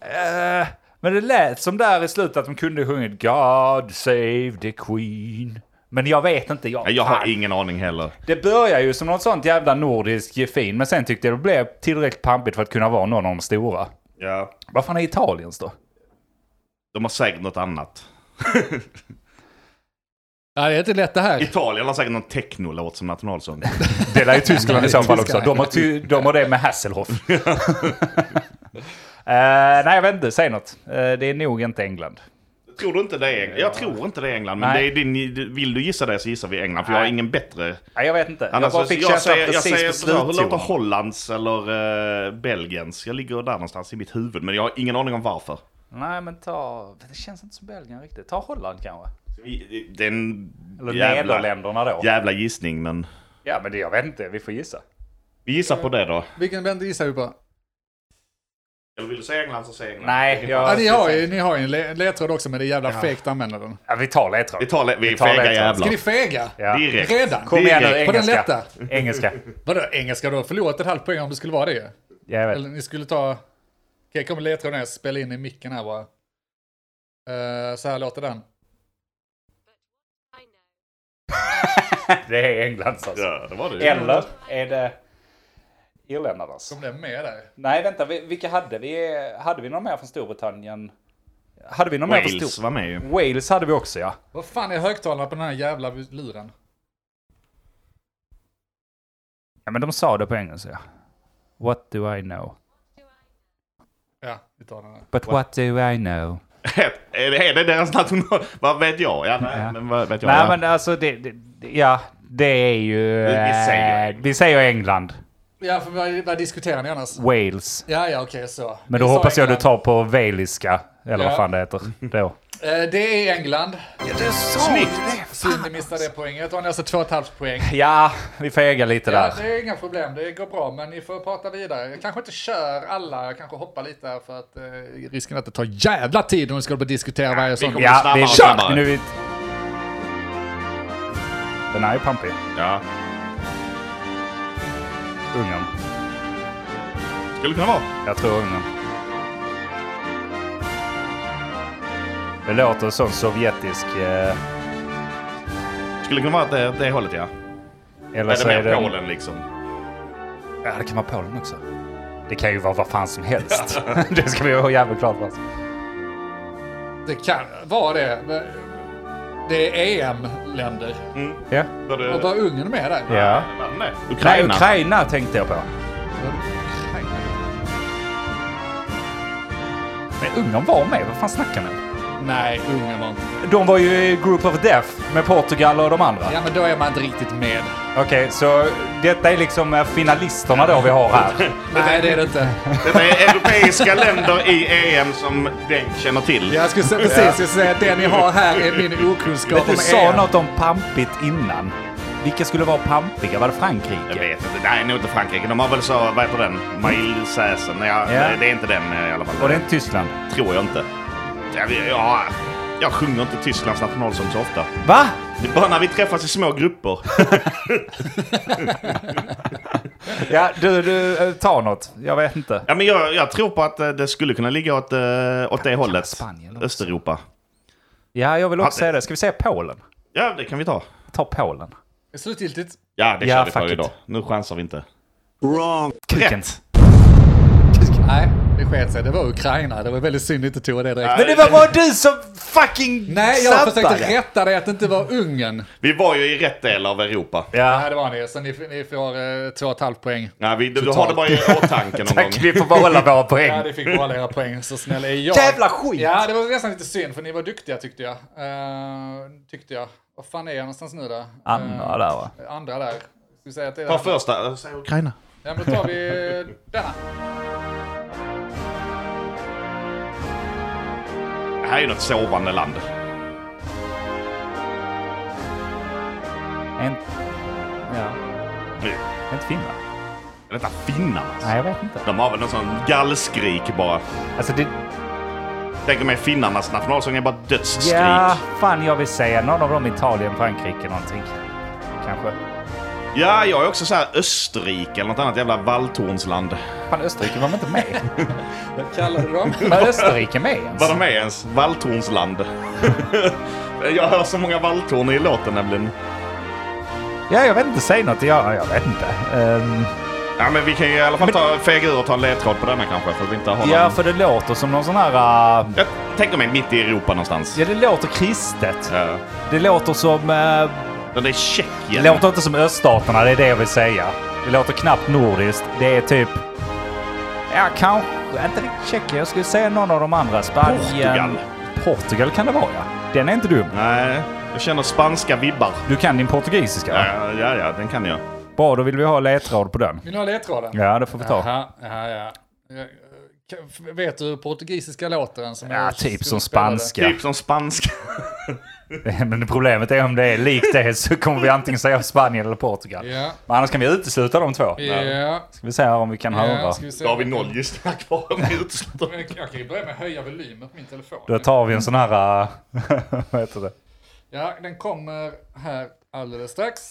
D: Eh, men det lät som där i slutet att de kunde sjungit God save the Queen. Men jag vet inte. Jag,
A: Nej, Jag har
D: fan.
A: ingen aning heller.
D: Det börjar ju som något sånt jävla nordisk gefin, men sen tyckte jag det blev tillräckligt pampigt för att kunna vara någon av de stora.
A: Ja.
D: Vad fan är Italiens då?
A: De har säkert något annat.
B: Ja, det är inte lätt det här.
A: Italien har säkert någon technolåt som nationalsång.
D: Det är ju Tyskland i så fall också.
B: Tyskland.
D: De har, ty- de har det med Hasselhoff. Eh, nej, jag vet inte. Säg något. Eh, det är nog inte England.
A: tror du inte det är England? Jag tror inte det är England. Men det
D: Nej.
A: är din, vill du gissa det så gissar vi England. För jag har
D: Nej.
A: ingen bättre...
D: Nej, jag vet inte. jag
A: Annars,
D: bara fick
A: jag
D: känslan
A: säger, jag
D: precis
A: säger
D: på
A: så här, hur låter
D: sluttonen.
A: Hollands eller eh, Belgiens? Jag ligger där någonstans i mitt huvud, men jag har ingen aning om varför.
D: Nej, men ta... Det känns inte som Belgien riktigt. Ta Holland kanske.
A: Det är en
D: Eller
A: jävla,
D: Nederländerna då. Ja.
A: jävla gissning, men
D: men det, jag vet inte. Vi får gissa.
A: vi gissar på det då.
B: Vilken band gissar vi på?
A: Eller vill du säga England så säg England.
D: Nej, jag...
B: Ja, ni, har ju, ni har ju en le- ledtråd också, men det är jävla fegt att använda den.
D: Ja, vi tar ledtråd.
A: Vi tar le- vi är
D: tar
A: fega
D: ledtråd.
A: jävlar.
B: Ska ni fega?
D: Ja.
A: Direkt.
B: Redan?
D: Kom igen nu,
A: Direkt.
B: På den
D: engelska.
B: lätta?
D: Engelska.
B: Vadå engelska? Du har förlorat ett halvt poäng om det skulle vara det ju.
D: Jag vet.
B: Eller ni skulle ta... Okej, kommer ledtråden här. Spela in i micken här bara. Eh, så här låter den.
D: Det är Englands alltså.
A: Ja, det var det. ju.
D: Eller är det irländarnas?
B: Kom den med där?
D: Nej, vänta. vi- Vilka hade vi? Hade vi någon mer från Storbritannien? Hade vi någon mer från
A: Wales
D: Stor...
A: var med ju.
D: Wales hade vi också ja.
B: Vad fan är högtalarna på den här jävla luren?
D: Ja, men de sa det på engelska. ja. What do I know?
B: Ja, vi tar den här.
D: But what do I know?
A: är, det, är det deras national... Vad vet jag? Ja, nej,
D: Ja.
A: men vad vet jag?
D: Nej,
A: ja.
D: men alltså det... det det- ja, det är ju...
A: Vi- vi säger
D: eh,
A: England.
D: vi säger England.
B: Ja, för vad, vad diskuterar ni annars?
D: Wales.
B: Ja, ja, okej, så.
D: Men då
B: Ni sa
D: hoppas jag du
B: England.
D: tar på waliska. Eller vad
B: Ja.
D: fan det heter. Då.
B: Eh, det är England.
A: Snyggt!
B: Synd ni missade det poängen. Jag tar ni alltså två och ett halvt poäng.
D: Ja, vi fegar lite
B: Ja,
D: där.
B: det är inga problem, det går bra, men ni får prata vidare. Jag kanske inte kör alla, jag kanske hoppar lite här för att eh, risken är att det tar jävla tid om vi ska börja diskutera varje sång.
A: kommer-
D: Ja,
A: Snabbare,
D: vi kör!
A: snabbare.
D: Nu är vi... Den här är pampig.
A: Ja,
D: Ungern.
A: skulle kunna vara.
D: Jag tror Ungern. Det låter som sovjetisk... Eh,
A: Skulle kunna vara att det, det hållet ja.
D: eller
A: Eller
D: så är
A: mer
D: det...
A: Polen liksom.
D: Ja, det kan vara Polen också. Det kan ju vara vad fan som helst. det ska vi ha jävligt klart för oss.
B: Det kan vara det. men Det är EM-länder.
D: Ja.
A: Var det-
B: Och var Ungern med där?
D: ja.
A: Vann det?
D: Nej,
A: Ukraina.
D: Ukraina tänkte jag på. Men Ungern var med. Vad fan snackar ni om?
B: Nej, Ungern var inte med.
D: De var ju i Group of Death med Portugal och de andra.
B: Ja, men då är man inte riktigt med.
D: Okej, så detta är liksom eh, finalisterna då vi har här.
B: Nej, det är det inte.
A: Detta är europeiska länder i EM som Bengt känner till.
B: Jag skulle säga, precis, jag skulle säga att det ni har här är min okunskap om
D: Du sa
B: EM.
D: något om pampigt innan. Vilka skulle vara pampiga? Var det
A: Jag
D: Frankrike?
A: vet inte. Nej, nog inte Frankrike. De har väl så, vad heter den? Mailsäsen. Nej, ja.
D: Ja.
A: det- det är inte den eh, i alla
D: Var
A: fall.
D: det inte Tyskland?
A: tror jag inte. Jag, vet- ja, jag sjunger inte Tysklands nationalsång så ofta.
D: Va?
A: Det är bara när vi träffas i små grupper.
D: Ja, du, du, eh, ta något. Jag vet inte.
A: Ja, men jag, jag tror på att eh, det skulle kunna ligga åt, eh, åt det hållet.
D: Spanien också.
A: Östeuropa.
D: Ja, jag vill också
A: Ja,
D: säga det. Ska vi säga Polen?
A: Ja, det kan vi ta.
D: Ta Polen.
B: Slutgiltigt.
A: Ja, det
D: Ja,
A: kör vi
D: fuck
A: på
D: it.
A: idag. Nu chansar vi inte.
D: Kuken.
B: Nej, det sket sig. Det var Ukraina. Det var väldigt synd att inte tog det direkt.
D: Men det var bara du som fucking
B: Nej, jag
D: sabbade.
B: försökte rätta dig att det inte var Ungern.
A: Vi var ju i rätt del av Europa.
D: Ja.
B: Nej, det var ni. Så ni, ni får eh, två och ett halvt poäng.
A: Ja, vi, du, du har det bara i åtanke någon gång.
D: Tack, vi får behålla våra
B: Ja,
D: poäng.
B: det fick behålla era poäng, så snälla är jag.
D: Jävla skit!
B: Ja, det var nästan lite synd, för ni var duktiga tyckte jag. Eh, tyckte jag. Vad fan är jag någonstans nu då? Eh,
D: Andra Mm. där va?
B: Andra där. Ska vi säga att det är...
A: Ta första. Säg Ukraina.
B: Ja, men då tar vi eh, denna.
A: Det här är ju något sovande land.
D: En... Ja.
A: Nu.
D: Inte finnar?
A: Detta finnarna.
D: Nej, jag vet inte.
A: De har väl någon sån gallskrik bara.
D: Alltså det...
A: Tänker mig finnarnas nationalsång är bara dödsskrik.
D: Ja, fan jag vill säga någon av dem Italien, Frankrike någonting. Kanske.
A: Ja, jag är också så här Österrike eller något annat jävla valltornsland.
D: Fan, Österrike var de inte med?
B: Vad kallar du dem?
D: Var Österrike med ens?
A: Vad de är ens? Valltornsland. jag hör så många valltorn i låten nämligen.
D: Ja, jag vet inte. Säg något. Jag, jag vet inte. Ehm,
A: Ja, men vi kan ju i alla fall ta, fega ur och ta en ledtråd på denna kanske. För att vi inte har
D: ja,
A: någon...
D: för det låter som någon sån här... Uh,
A: Jag tänker mig mitt i Europa någonstans.
D: ja, det låter kristet.
A: Ja.
D: Det låter som... eh,
A: Den är Tjeckien.
D: det låter inte som öststaterna, det är det jag vill säga. Det låter knappt nordiskt. Det är typ... Ja, kanske... Inte riktigt Tjeckien. Jag skulle säga någon av de andra. Spanien...
A: Portugal.
D: Portugal kan det vara, ja. Den är inte dum.
A: Nej, jag känner spanska vibbar.
D: Du kan din portugisiska? va?
A: Ja, ja, ja, den kan jag.
D: Bra, då vill vi ha ledtråd på den.
B: Vill ni ha ledtråden?
D: Ja, det får vi ta.
B: Jaha, jaha, ja. Eh, kan- f- Vet du portugisiska låten? Som
D: Ja,
B: jag
D: typ
B: skulle
D: som
B: spela det?
D: spanska.
A: Typ som spanska.
D: Men problemet är om det är likt det så kommer vi antingen säga Spanien eller Portugal.
B: Ja.
D: Men annars kan vi utesluta de två.
B: Ja,
D: Ska vi se här om vi kan höra.
B: ja ska vi se.
A: Då har vi noll gissningar kvar om vi utesluter.
B: Jag kan ju börja med att höja volymen på min telefon.
D: Då tar vi en sån här... äh, Vad heter det?
B: Ja, den kommer här alldeles strax.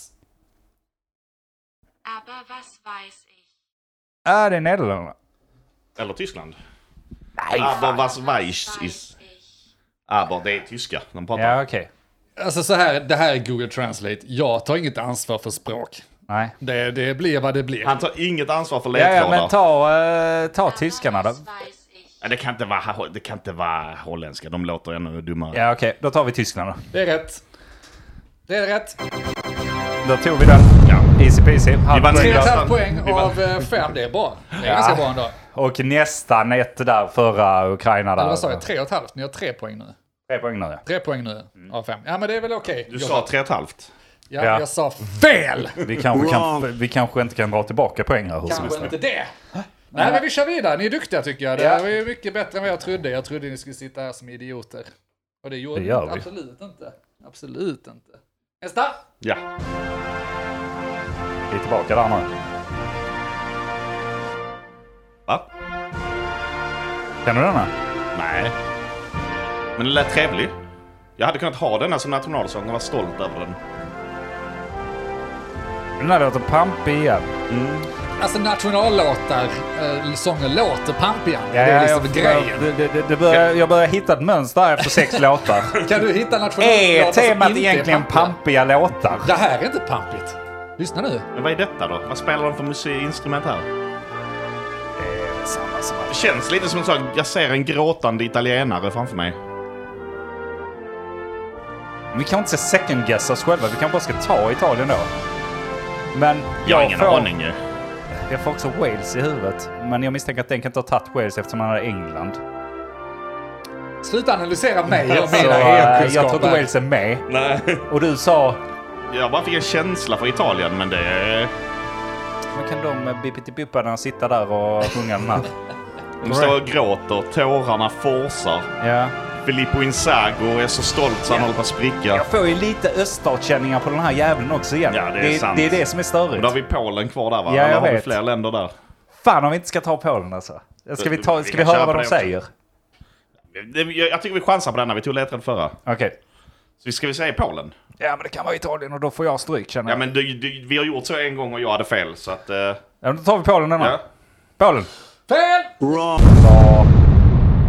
F: Aber was weiß ich?
D: Ja, det är Nederländerna.
A: Eller Tyskland. Nej, Aber was weiß ist.
F: Ich.
A: Aber det är tyska de pratar.
D: Ja, okej.
B: Alltså så här, det här är Google Translate. Jag tar inget ansvar för språk.
D: Nej.
B: Det, det blir vad det blir.
A: Han tar inget ansvar för
D: Ja,
A: ledtrådar.
D: ja, men ta, äh, ta tyskarna
F: Aber
D: då.
F: was weiß ich?
A: Ja, Det kan inte vara, det kan inte vara holländska, de låter ännu dummare.
D: Ja, okej. Då tar vi Tyskland då.
B: Det är rätt. Det är rätt.
D: Då tog vi den.
A: Ja.
D: Easy peasy.
A: Vi vann
B: Tre och ett
A: hela-
D: Halvpoäng.
B: halvt poäng
A: Vi vann.
B: av eh, fem. Det är bra. Det är ganska bra ändå.
D: Och nästan ett där förra Ukraina där.
B: Eller vad sa jag? Tre och ett halvt? Ni har tre poäng nu.
D: Tre poäng nu ja.
B: Tre poäng nu av fem. Ja, men det är väl okej.
A: Mm. Du sa tre och ett halvt.
B: Ja,
D: Ja.
B: jag sa fel!
D: Vi kanske, kan, vi kanske inte kan dra tillbaka poäng här hur som helst.
B: Kanske inte det. Nej, men vi kör vidare. Ni är duktiga tycker jag. Det var ju mycket bättre än vad jag trodde. Jag trodde ni skulle sitta här som idioter. Och det gjorde
D: Det
B: ni
D: gör
B: inte.
D: vi.
B: absolut inte. Absolut inte. Nästa!
A: Ja.
D: Vi är tillbaka där nu.
A: Va?
D: Kan du denna?
A: Nej. Men den lät trevlig. Jag hade kunnat ha denna som nationalsång och vara stolt över den.
D: Den här låter pampig igen.
B: Alltså nationallåtar, eh, sånger låter pampiga. det
D: Ja,
B: är liksom
D: jag,
B: grejen.
D: Det, det, det, det börjar, jag börjar hitta ett mönster här efter sex låtar.
B: Kan du hitta
D: Är
B: nationallåtar som
D: temat
B: inte är
D: egentligen
B: pampiga?
D: pampiga låtar?
B: Det här är inte pampigt. Lyssna nu.
A: Men vad är detta då? Vad spelar de för musikinstrument här?
D: Samma som
A: Det känns lite som en sak, jag ser en gråtande italienare framför mig.
D: att- Vi kan inte second guess oss själva. Vi kanske bara ska ta Italien då. Men
A: Jag har ingen
D: får,
A: aning ju.
D: Jag får också Wales i huvudet. Men jag misstänker att den kan inte ha tagit Wales eftersom han är England.
B: Sluta analysera mig och
D: Så,
B: mina
D: eh, jag tror inte
B: EU-kunskaper.
D: Wales är med.
A: Nej.
D: Och du sa...
A: Jag bara fick en känsla för Italien, men det är...
D: Men kan de bippitibipparna sitta där och sjunga den här?
A: De står och gråter, tårarna forsar.
D: Ja.
A: Filippo Inzago är så stolt så han håller på att spricka.
D: Jag får ju lite öststatskänningar på den här jäveln också igen.
A: Ja, det är
D: det,
A: sant.
D: det är det som är
A: Och då har
D: störigt.
A: vi Polen kvar där va?
D: Ja, jag
A: Eller har vi
D: vet.
A: fler länder där?
D: Fan om vi inte ska ta Polen alltså. Ska vi, ta,
A: Vi
D: ska vi
A: kan köra på
D: höra vad de
A: det också.
D: säger?
A: Det- Jag jag tycker vi chansar på denna, vi tog ledtråd förra.
D: Okej.
A: Så vi- ska vi säga Polen?
D: Ja men det kan vara Italien och då får jag stryk känner
A: Ja
D: jag.
A: men du, du, vi har gjort så en gång och jag hade fel så att... eh,
D: Ja, men då tar vi Polen denna.
A: ja.
D: Polen!
B: Fel!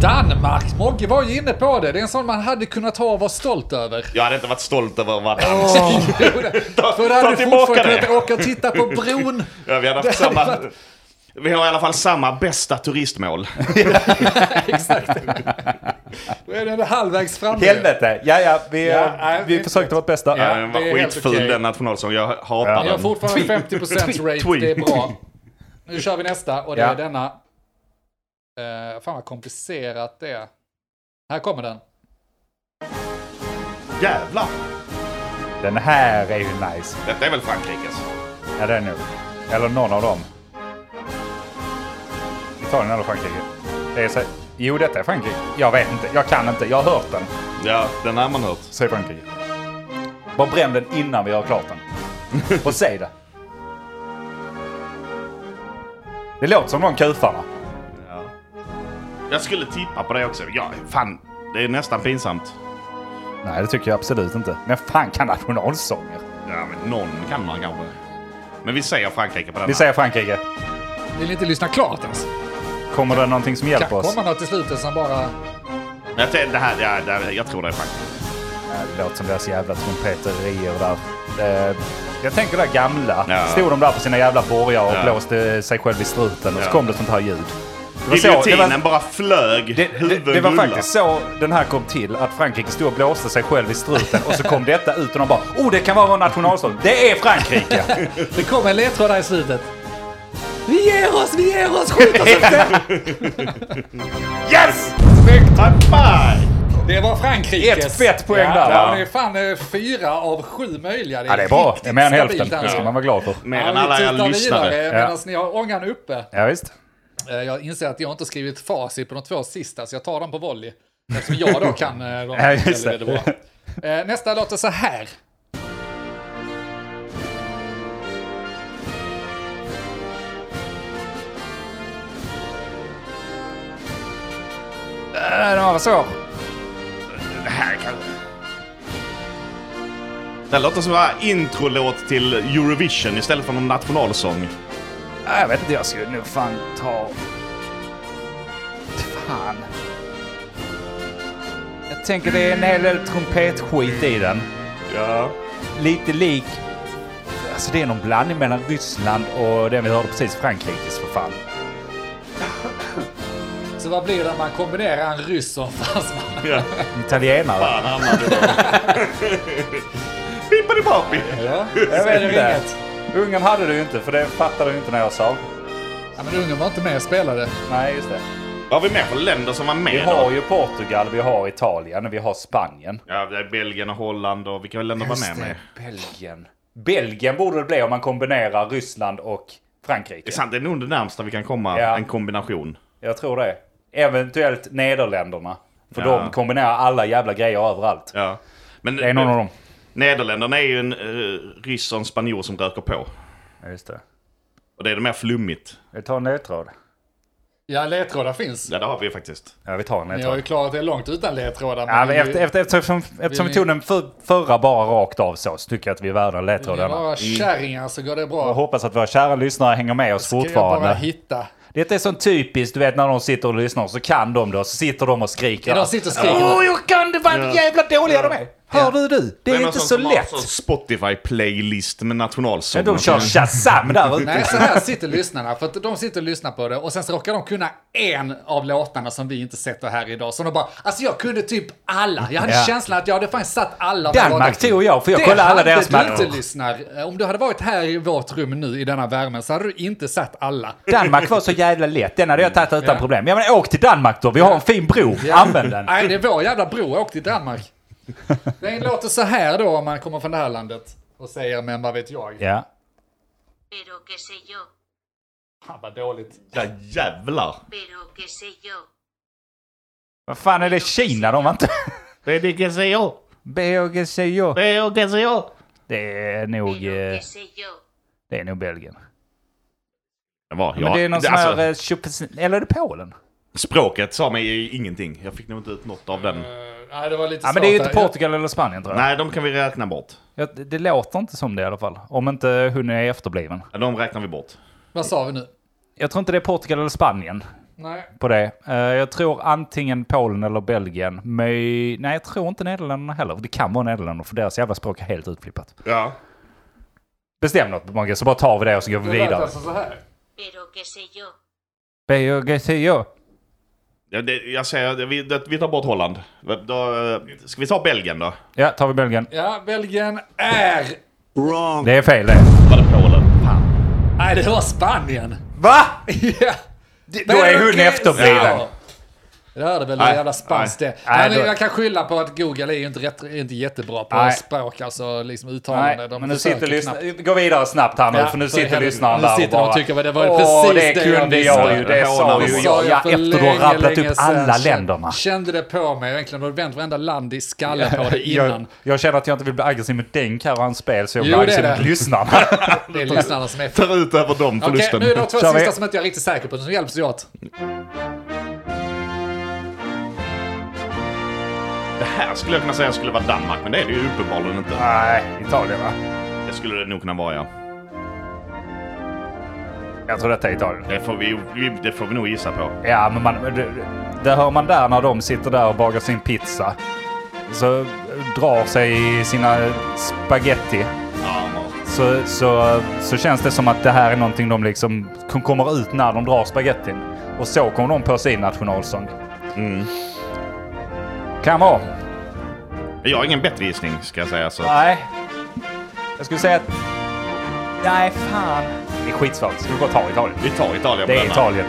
B: Danmark! Mogge var ju inne på det. Det är en sån man hade kunnat ha och vara stolt över.
A: Jag hade inte varit stolt över vad dansk. ta,
B: För då
A: ta
B: hade du
A: tillbaka
B: fortfarande kunnat
A: det!
B: åka och titta på bron.
A: Ja, vi, hade haft
B: Det hade
A: samma, vi har i alla fall samma bästa turistmål.
B: Exakt. Då är den halvvägs framme.
D: Helvete! Ja ja, vi, eh,
B: Ja, nej,
D: vi
B: det-
D: försökte vårt bästa.
B: Ja.
A: Den var
B: det är helt
A: skitful
B: okej.
A: den nationalsången, jag hatar
D: Ja.
B: Jag har
A: den.
B: fortfarande 50% rate,
A: Tweet.
B: det är bra. Nu kör vi nästa och det
D: Ja.
B: är denna. Uh, fan vad komplicerat det är. Här kommer den.
A: Jävlar!
D: Den här är ju nice.
A: Detta är väl Frankrikes?
D: Ja det är nu. Eller någon av dem. Italien eller Frankrike. Det är så... Jo detta är Frankrike. Jag vet inte, jag kan inte. Jag har hört den.
A: Ja, den har man hört.
D: Säg Frankrike. Bara bränn den innan vi har klart den. Och säg det. Det låter som de kufarna.
A: Jag skulle tippa på det också. Ja, fan. Det är nästan pinsamt.
D: Nej, det tycker jag absolut inte. Men fan kan nationalsånger?
A: Ja, men någon kan man kanske. Men vi säger Frankrike på den
D: Vi
A: här.
D: säger Frankrike.
B: Vill ni inte lyssna klart ens?
D: Kommer det någonting som
B: Kan
D: hjälper oss?
B: komma något till slutet som bara...
A: Jag, tror- det här, det här, det här, jag tror det är Frankrike.
D: Nej, det låter som deras jävla trumpeterier där. Eh, jag tänker det där gamla.
A: Ja.
D: Stod de där på sina jävla borgar och
A: Ja.
D: blåste sig själv i struten och så
A: Ja.
D: kom det sånt här ljud. Det var så- det var-
A: Giljotinen bara flög.
D: Det, det,
A: huvuden
D: det var
A: rullade.
D: faktiskt så den här kom till, att Frankrike stod och blåste sig själv i struten och så kom detta ut och de bara oh det kan vara vår nationalsång. Det är Frankrike!
B: Det kom en ledtråd där i slutet. Vi ger oss, vi ger oss, skjut oss inte!
D: Yes!
A: High five!
B: Det var Frankrikes.
D: Ett fett poäng
B: ja,
D: där.
B: Ja, det är fan eh, fyra av sju möjliga.
D: Ja det är bra,
B: riktigt
D: det är mer än
B: stabilt
D: hälften. Det
B: alltså.
D: ska man vara glad för.
A: Mer
B: Ja,
A: än
B: vi
A: alla
B: tittar
A: er lyssnare.
B: vidare
D: Ja.
B: Medan ni har ångan uppe.
D: Ja, visst.
B: Eh, Jag inser att jag inte har skrivit facit på de två sista, så jag tar dem på volley. Eftersom jag då kan eh, dem
D: Ja, just
B: väldigt,
D: det.
B: väldigt bra. Eh, Nästa låter så här.
D: Äh, det var så.
A: Det här kan... Det låter som en introlåt till Eurovision istället för någon nationalsång.
D: Ja, Ah, Jag vet inte, jag skulle nog fan ta... Fan. Jag tänker det är en hel del trumpetskit i den.
A: Ja.
D: Lite lik... Alltså det är någon blandning mellan Ryssland och den vi hörde precis, Frankrikes för fan.
B: Så vad blir det om man kombinerar en ryss och en fransman?
A: ja.
D: Italienare.
A: Fan, hamnade där. Pippadipapi!
B: Ja,
D: Jag
B: så är
D: vet
B: det
D: inte.
B: ringet.
D: Ungern hade du ju inte, för det fattade du inte när jag sa.
B: Ja, men Ungern var inte med och spelade.
D: Nej, just det.
A: Vad har vi mer för länder som var med
D: Vi har
A: då?
D: ju Portugal, vi har Italien, vi har Spanien.
A: Ja, det är Belgien och Holland och vilka länder var med med?
D: Belgien. Belgien borde det bli om man kombinerar Ryssland och Frankrike.
A: Det är sant, det är nog det närmsta vi kan komma
D: Ja.
A: en kombination.
D: Jag tror det. Eventuellt Nederländerna. För
A: Ja.
D: de kombinerar alla jävla grejer överallt.
A: Ja. Men eh,
D: Det är någon av dem.
A: Nederländerna är ju en uh, ryss och en spanjor som röker på.
D: Ja, just det.
A: Och det är det mer flummigt.
D: Vi tar en ledtråd.
B: Ja, ledtrådar finns.
A: Ja, det har vi ju faktiskt.
D: Ja, vi tar en
B: Ni har
D: ledtråd.
B: ju klarat er långt utan ledtrådar.
D: Ja,
B: men
D: men
B: det är ju-
D: efter, efter, eftersom eftersom vi
B: ni-
D: tog den för, förra bara rakt av så, så tycker jag att vi är värda en ledtråd.
B: Ni är
D: denna.
B: bara kärringar så går det
D: Jag
B: bra.
D: hoppas att våra kära lyssnare hänger med oss
B: Ska jag bara
D: fortfarande.
B: hitta.
D: Detta är sånt typiskt, du vet när de sitter och lyssnar så kan de det och så sitter de och skriker.
B: Ja, de sitter och skriker.
D: Åh, jag kan det! Vad jävla dåliga de är! Hör du du? Det är,
A: någon
D: inte
A: sån
D: så
A: alltså som har
D: lätt.
A: en sån Spotify-playlist med nationalsånger.
D: Men de kör Shazam där ute.
B: Nej, så här sitter lyssnarna. För att de sitter och lyssnar på det och sen så råkar de kunna en av låtarna som vi inte sätter här idag. Så de bara, alltså jag kunde typ alla. Jag hade
D: Ja.
B: känslan att jag hade fan satt alla.
D: Danmark tog jag, för jag
B: Det
D: kollade alla deras
B: hade du
D: matcher.
B: inte lyssnar. Om du hade varit här i vårt rum nu i denna värmen så hade du inte satt alla.
D: Danmark var så jävla lätt. Den hade jag tagit utan
B: Ja.
D: problem. Ja men åk till Danmark då. Vi har en fin bro. Använd den.
B: Nej, det är vår jävla bror. Åk till Danmark. Den låter så här då om man kommer från det här landet och säger, men vad vet jag?
D: Ja.
F: Pero qué sé yo,
B: Fan vad dåligt.
A: Ja, jävlar.
F: pero qué sé yo.
D: Vad fan är det Kina de var inte?
A: Det kan säga jag.
D: BOGCO.
A: Det kan säga jag.
D: Det är nog...
F: Pero
D: eh,
F: qué sé yo.
D: Det är nog Belgien.
A: Det var, ja,
D: Men det är någon sån
A: alltså,
D: här... eh, Chup- Eller är det Polen?
A: Språket sa mig ju ingenting. Jag fick nog inte ut något av den.
B: Eh, nej, det var lite
D: Mm. Ja men det är ju
B: svårt
D: inte
B: där.
D: Portugal eller Spanien tror jag.
A: Nej, de kan vi räkna bort.
D: Ja, det- Det låter inte som det i alla fall. Om inte hon är efterbliven.
A: Ja, De räknar vi bort.
B: Vad sa vi nu?
D: Jag tror inte det är Portugal eller Spanien
B: Nej.
D: på det. Eh, Jag tror antingen Polen eller Belgien. Möj... Nej, jag tror inte Nederländerna heller. Det kan vara Nederländerna för deras jävla språk är helt utflippat.
A: Ja.
D: Bestäm något Mogge, så bara tar vi det och så går vi
B: Det lät
D: vidare.
B: alltså så här.
F: Pero qué sé yo.
D: BOGCO.
A: det, jag säger, det- vi, det, vi tar bort Holland. Då, eh, ska vi ta Belgien då?
D: Ja, tar vi Belgien.
B: Ja, Belgien är...
D: Det är fel det.
A: Var det Polen? Fan.
B: Nej, det var Spanien.
D: Va?
B: Ja.
D: Då är hon efterbliven.
B: Det här är väl
A: Nej,
B: en jävla spanskt det.
D: nej,
B: Nej, men
D: då-
B: Jag kan skylla på att Google är ju inte, rätt, är inte jättebra på
D: Nej.
B: språk, alltså liksom
D: Nej,
B: uttalande. De
D: men nu
B: försöker
D: sitter lyssna...
B: knappt.
D: Gå vidare snabbt här nu,
B: Ja,
D: för nu
B: för
D: sitter
B: helvete.
D: lyssnaren
B: Nu
D: där
B: sitter de och tycker vad det var precis det
D: Åh, det
B: jag
D: kunde jag
B: visste."
D: ju. Det sa
A: Det
D: ju
A: sa
D: jag.
B: jag för
D: efter du har
B: länge,
D: rabblat
B: länge
D: upp alla
B: sedan.
D: länderna.
B: Kände det på mig verkligen, och vänt varenda land i skallen på det
D: Jag,
B: innan.
D: jag känner att jag inte vill bli aggressiv mot Denk här och hans spel, så jag blir
B: Jo, det är
D: aggressiv mot
B: det.
D: lyssnarna.
B: Det är lyssnarna som är...
A: Tar ut över dem
B: Okej,
A: förlusten.
B: nu är det de två
D: Kör vi.
B: sista som inte jag är riktigt säker på, som hjälps vi åt.
A: Det här skulle jag kunna säga skulle vara Danmark, men det är det ju uppenbarligen inte.
D: Nej, Italien va?
A: Det skulle det nog kunna vara, ja.
D: Jag tror detta är Italien.
A: Det får vi, vi- det får vi nog gissa på.
D: Ja, men man, det, det hör man där när de sitter där och bakar sin pizza. Så drar sig i sina spaghetti.
A: Ja, men-
D: Så, så, så känns det som att det här är någonting de liksom kom- kommer ut när de drar spagettin. Och så kommer de på sin nationalsång. Kan vara.
A: jag har ingen bättre gissning, ska jag säga. Så.
D: Nej. Jag skulle säga att... Nej, fan. Det är skitsvårt. Ska vi bara ta Italien?
A: Vi tar Italien på
D: Det är
A: denna.
D: Italien.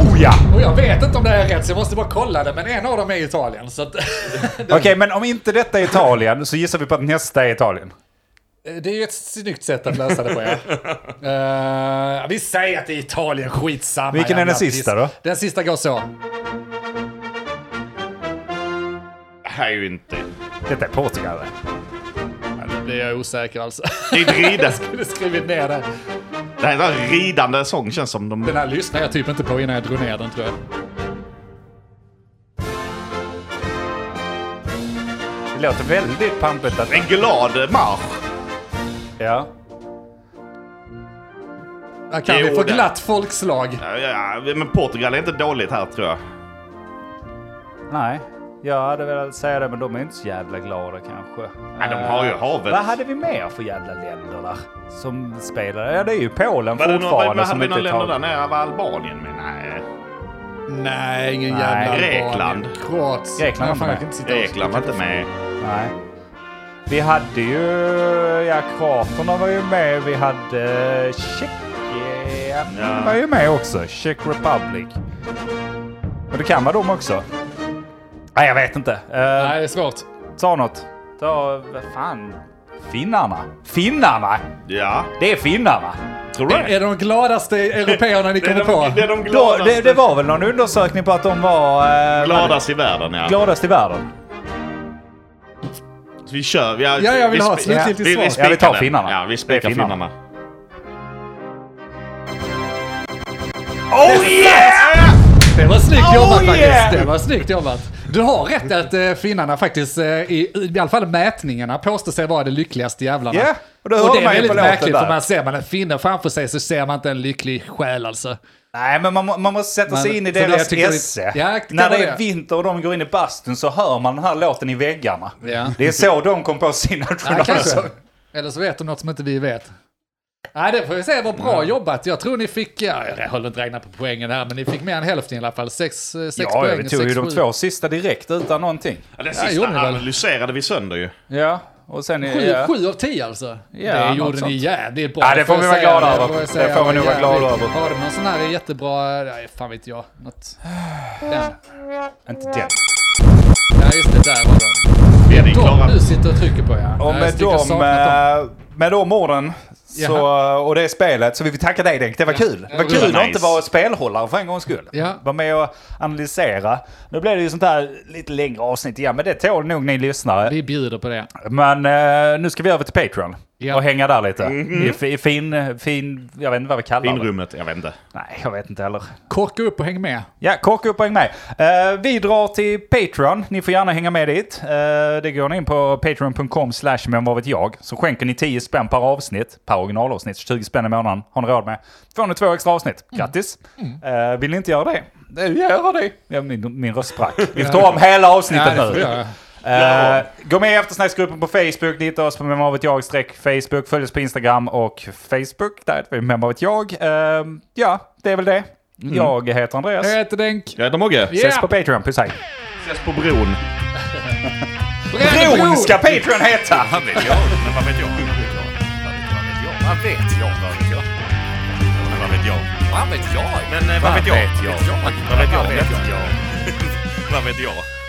D: Oh ja!
B: Och jag vet inte om det här är rätt, så jag måste bara kolla det, men en av dem är Italien. Så att,
D: Okej, men om inte detta är Italien så gissar vi på att nästa är Italien.
B: Eh, det är ju ett snyggt sätt att lösa det på, ja. Eh, vi säger att det är Italien, skitsamma.
D: Vilken är
B: jävla
D: den sista
B: piss.
D: då?
B: Den sista går så.
A: Det här är ju inte...
D: Detta är Portugal.
B: Nu blir jag osäker alltså.
A: Det är ett ridande.
B: Jag hade skrivit ner det.
A: Det här är en ridande sång känns som de...
B: Den här lyssnade jag typ inte på innan jag drog ner den tror jag.
D: Det låter väldigt pampigt att...
A: En glad marsch.
D: Ja.
B: Här kan
A: Jo,
B: vi få
A: det-
B: glatt folkslag.
A: Ja, ja, men Portugal är inte dåligt här tror jag.
D: Nej. Jag hade velat säga det, men de är inte så jävla glada kanske. Eh,
A: Ja, de har ju havet.
D: Vad hade vi mer för jävla länder där? Som spelade? Ja, det är ju Polen
A: Var det någon,
D: fortfarande
A: vad hade
D: som
A: vi
D: inte
A: någon länder
D: tar...
A: där nere? Var Albanien med? Nej.
B: Nej, ingen
D: Nej,
B: jävla
A: Grekland.
B: Albanien. Kroatien.
D: Grekland
B: Nej, fan,
D: var
B: jag
D: inte
B: kan inte sitta och-
A: Grekland var inte med.
D: Nej. Vi hade ju... Ja, kroaterna var ju med. Vi hade eh, Tjeckien.
A: Ja.
D: var ju med också. Czech Republic. Men det kan vara dem också. Nej, jag vet inte. Eh,
B: Nej, det är svårt.
D: Ta något. Ta... Vad fan? Finnarna. Finnarna!
A: Ja,
D: Det är finnarna.
A: tror du
B: Är
A: det?
B: det de gladaste européerna ni
A: Det är
B: kommer
A: de,
B: på?
A: det är de
D: Då,
A: gladaste,
D: det, det var väl någon undersökning på att de var... eh,
A: gladast i världen ja.
D: Gladast i världen.
A: Så vi kör. Vi, ja,
B: jag vill
A: vi,
B: ha ett
A: spi-
B: slutgiltigt
A: vi, vi
B: svar.
A: spikar
D: Ja, vi tar
A: den.
D: finnarna.
A: Ja,
D: Det är
A: vi spikar
D: finnarna.
A: finnarna.
D: Oh yeah!
B: Det var snyggt jobbat
D: Oh,
B: faktiskt.
D: yeah!
B: Det var snyggt jobbat. Du har rätt att eh, finnarna faktiskt, eh, i, i alla fall mätningarna, påstår sig vara de lyckligaste jävlarna.
D: Ja, och det hör
B: och det är
D: man ju
B: väldigt
D: på låten
B: märkligt,
D: där.
B: för man ser man en finne framför sig så ser man inte en lycklig själ alltså.
D: Nej, men man, må- man måste sätta sig
B: Men-
D: in i
B: så det- jag
D: deras
B: tycker det-
D: esse.
B: Ja, det kan
D: När det
B: vara
D: är
B: det.
D: vinter och de går in i bastun så hör man den här låten i väggarna.
B: Ja.
D: Det är så de kom på sin
B: Ja, kanske.
D: nationalsång.
B: Eller så vet de något som inte vi vet. Nej, det får vi säga var bra jobbat. Jag tror ni fick, ja, jag håller inte räkna på poängen här, men ni fick mer än hälften i alla fall. Sex, eh, sex
D: Ja,
B: poäng.
D: vi tog ju
B: sex,
D: de
B: sju.
D: två sista direkt utan någonting.
A: Ja, den
B: Ja, gjorde
A: sista
B: ni väl?
A: analyserade vi sönder ju.
D: Ja, och sen...
B: Sju,
D: ja.
B: sju av tio alltså? det
D: något
B: gjorde
D: sånt.
B: ni jävligt bra.
D: Ja, det får vi
B: jag
D: vara
B: säga.
D: glada över.
B: jag
D: Det
B: säga
D: får vi
B: var
D: nog vara glada
B: jävligt-
D: över.
B: Har du någon sån här jättebra, nej fan vet jag, något... Den.
D: Inte den.
B: Ja just det, där var den.
A: Vi hade ju
B: De
A: klarat...
B: du sitter och trycker på ja.
D: Och
B: Ja,
D: med
B: jag tycker jag
D: de,
B: saknat dem.
D: eh, med de orden så,
B: Jaha.
D: och det spelet så vill vi tacka dig Denk. Det var kul. Det var
B: Ja,
D: kul
A: det var
D: att
A: nice.
D: inte vara spelhållare för en gångs skull.
B: Ja.
D: Var med och analysera. Nu blev det ju sånt här lite längre avsnitt igen men det tål nog ni lyssnare.
B: Vi bjuder på det.
D: Men eh, nu ska vi över till Patreon
B: Ja.
D: och hänga där lite. I, fi- I fin, fin, jag vet inte vad vi kallar det.
A: Finrummet, jag vet inte.
D: Nej, jag vet inte heller.
B: Korka upp och häng med.
D: Ja, korka upp och häng med. Eh, vi drar till Patreon. Ni får gärna hänga med dit. Eh, det går ni in på patreon.com slash men vad vet jag. Så skänker ni 10 spänn per avsnitt, per originalavsnitt, 20 spänn i månaden har ni råd med. Får ni två extra avsnitt.
B: Mm.
D: Grattis! Eh, vill ni inte göra det? det gör det! Ja, min, min röst sprack. Vi får ta om hela avsnittet
B: Ja, det får
D: nu.
B: jag göra.
D: Eh, gå med i eftersnacksgruppen på Facebook. Ni hittar oss på Vem av ett jag streck Facebook. Följ oss på Instagram och Facebook. Där heter vi Vem av ett jag. Eh, ja, det är väl det. Jag heter Andreas.
B: Mm. Jag heter Denk.
A: Jag heter Mogge.
D: Ses på Patreon, puss hej.
A: Ses på bron.
B: Brännbro!
D: Patreon heta!
G: Vad vet jag? Men vad vet jag? Vad vet jag? Vad vet jag? Vad vet jag? Vad vet jag? Vad vet jag?
A: vet jag? Vad vet jag? Men eh, vad vet jag? Vad vet jag? Vad vet jag? Vad vet jag?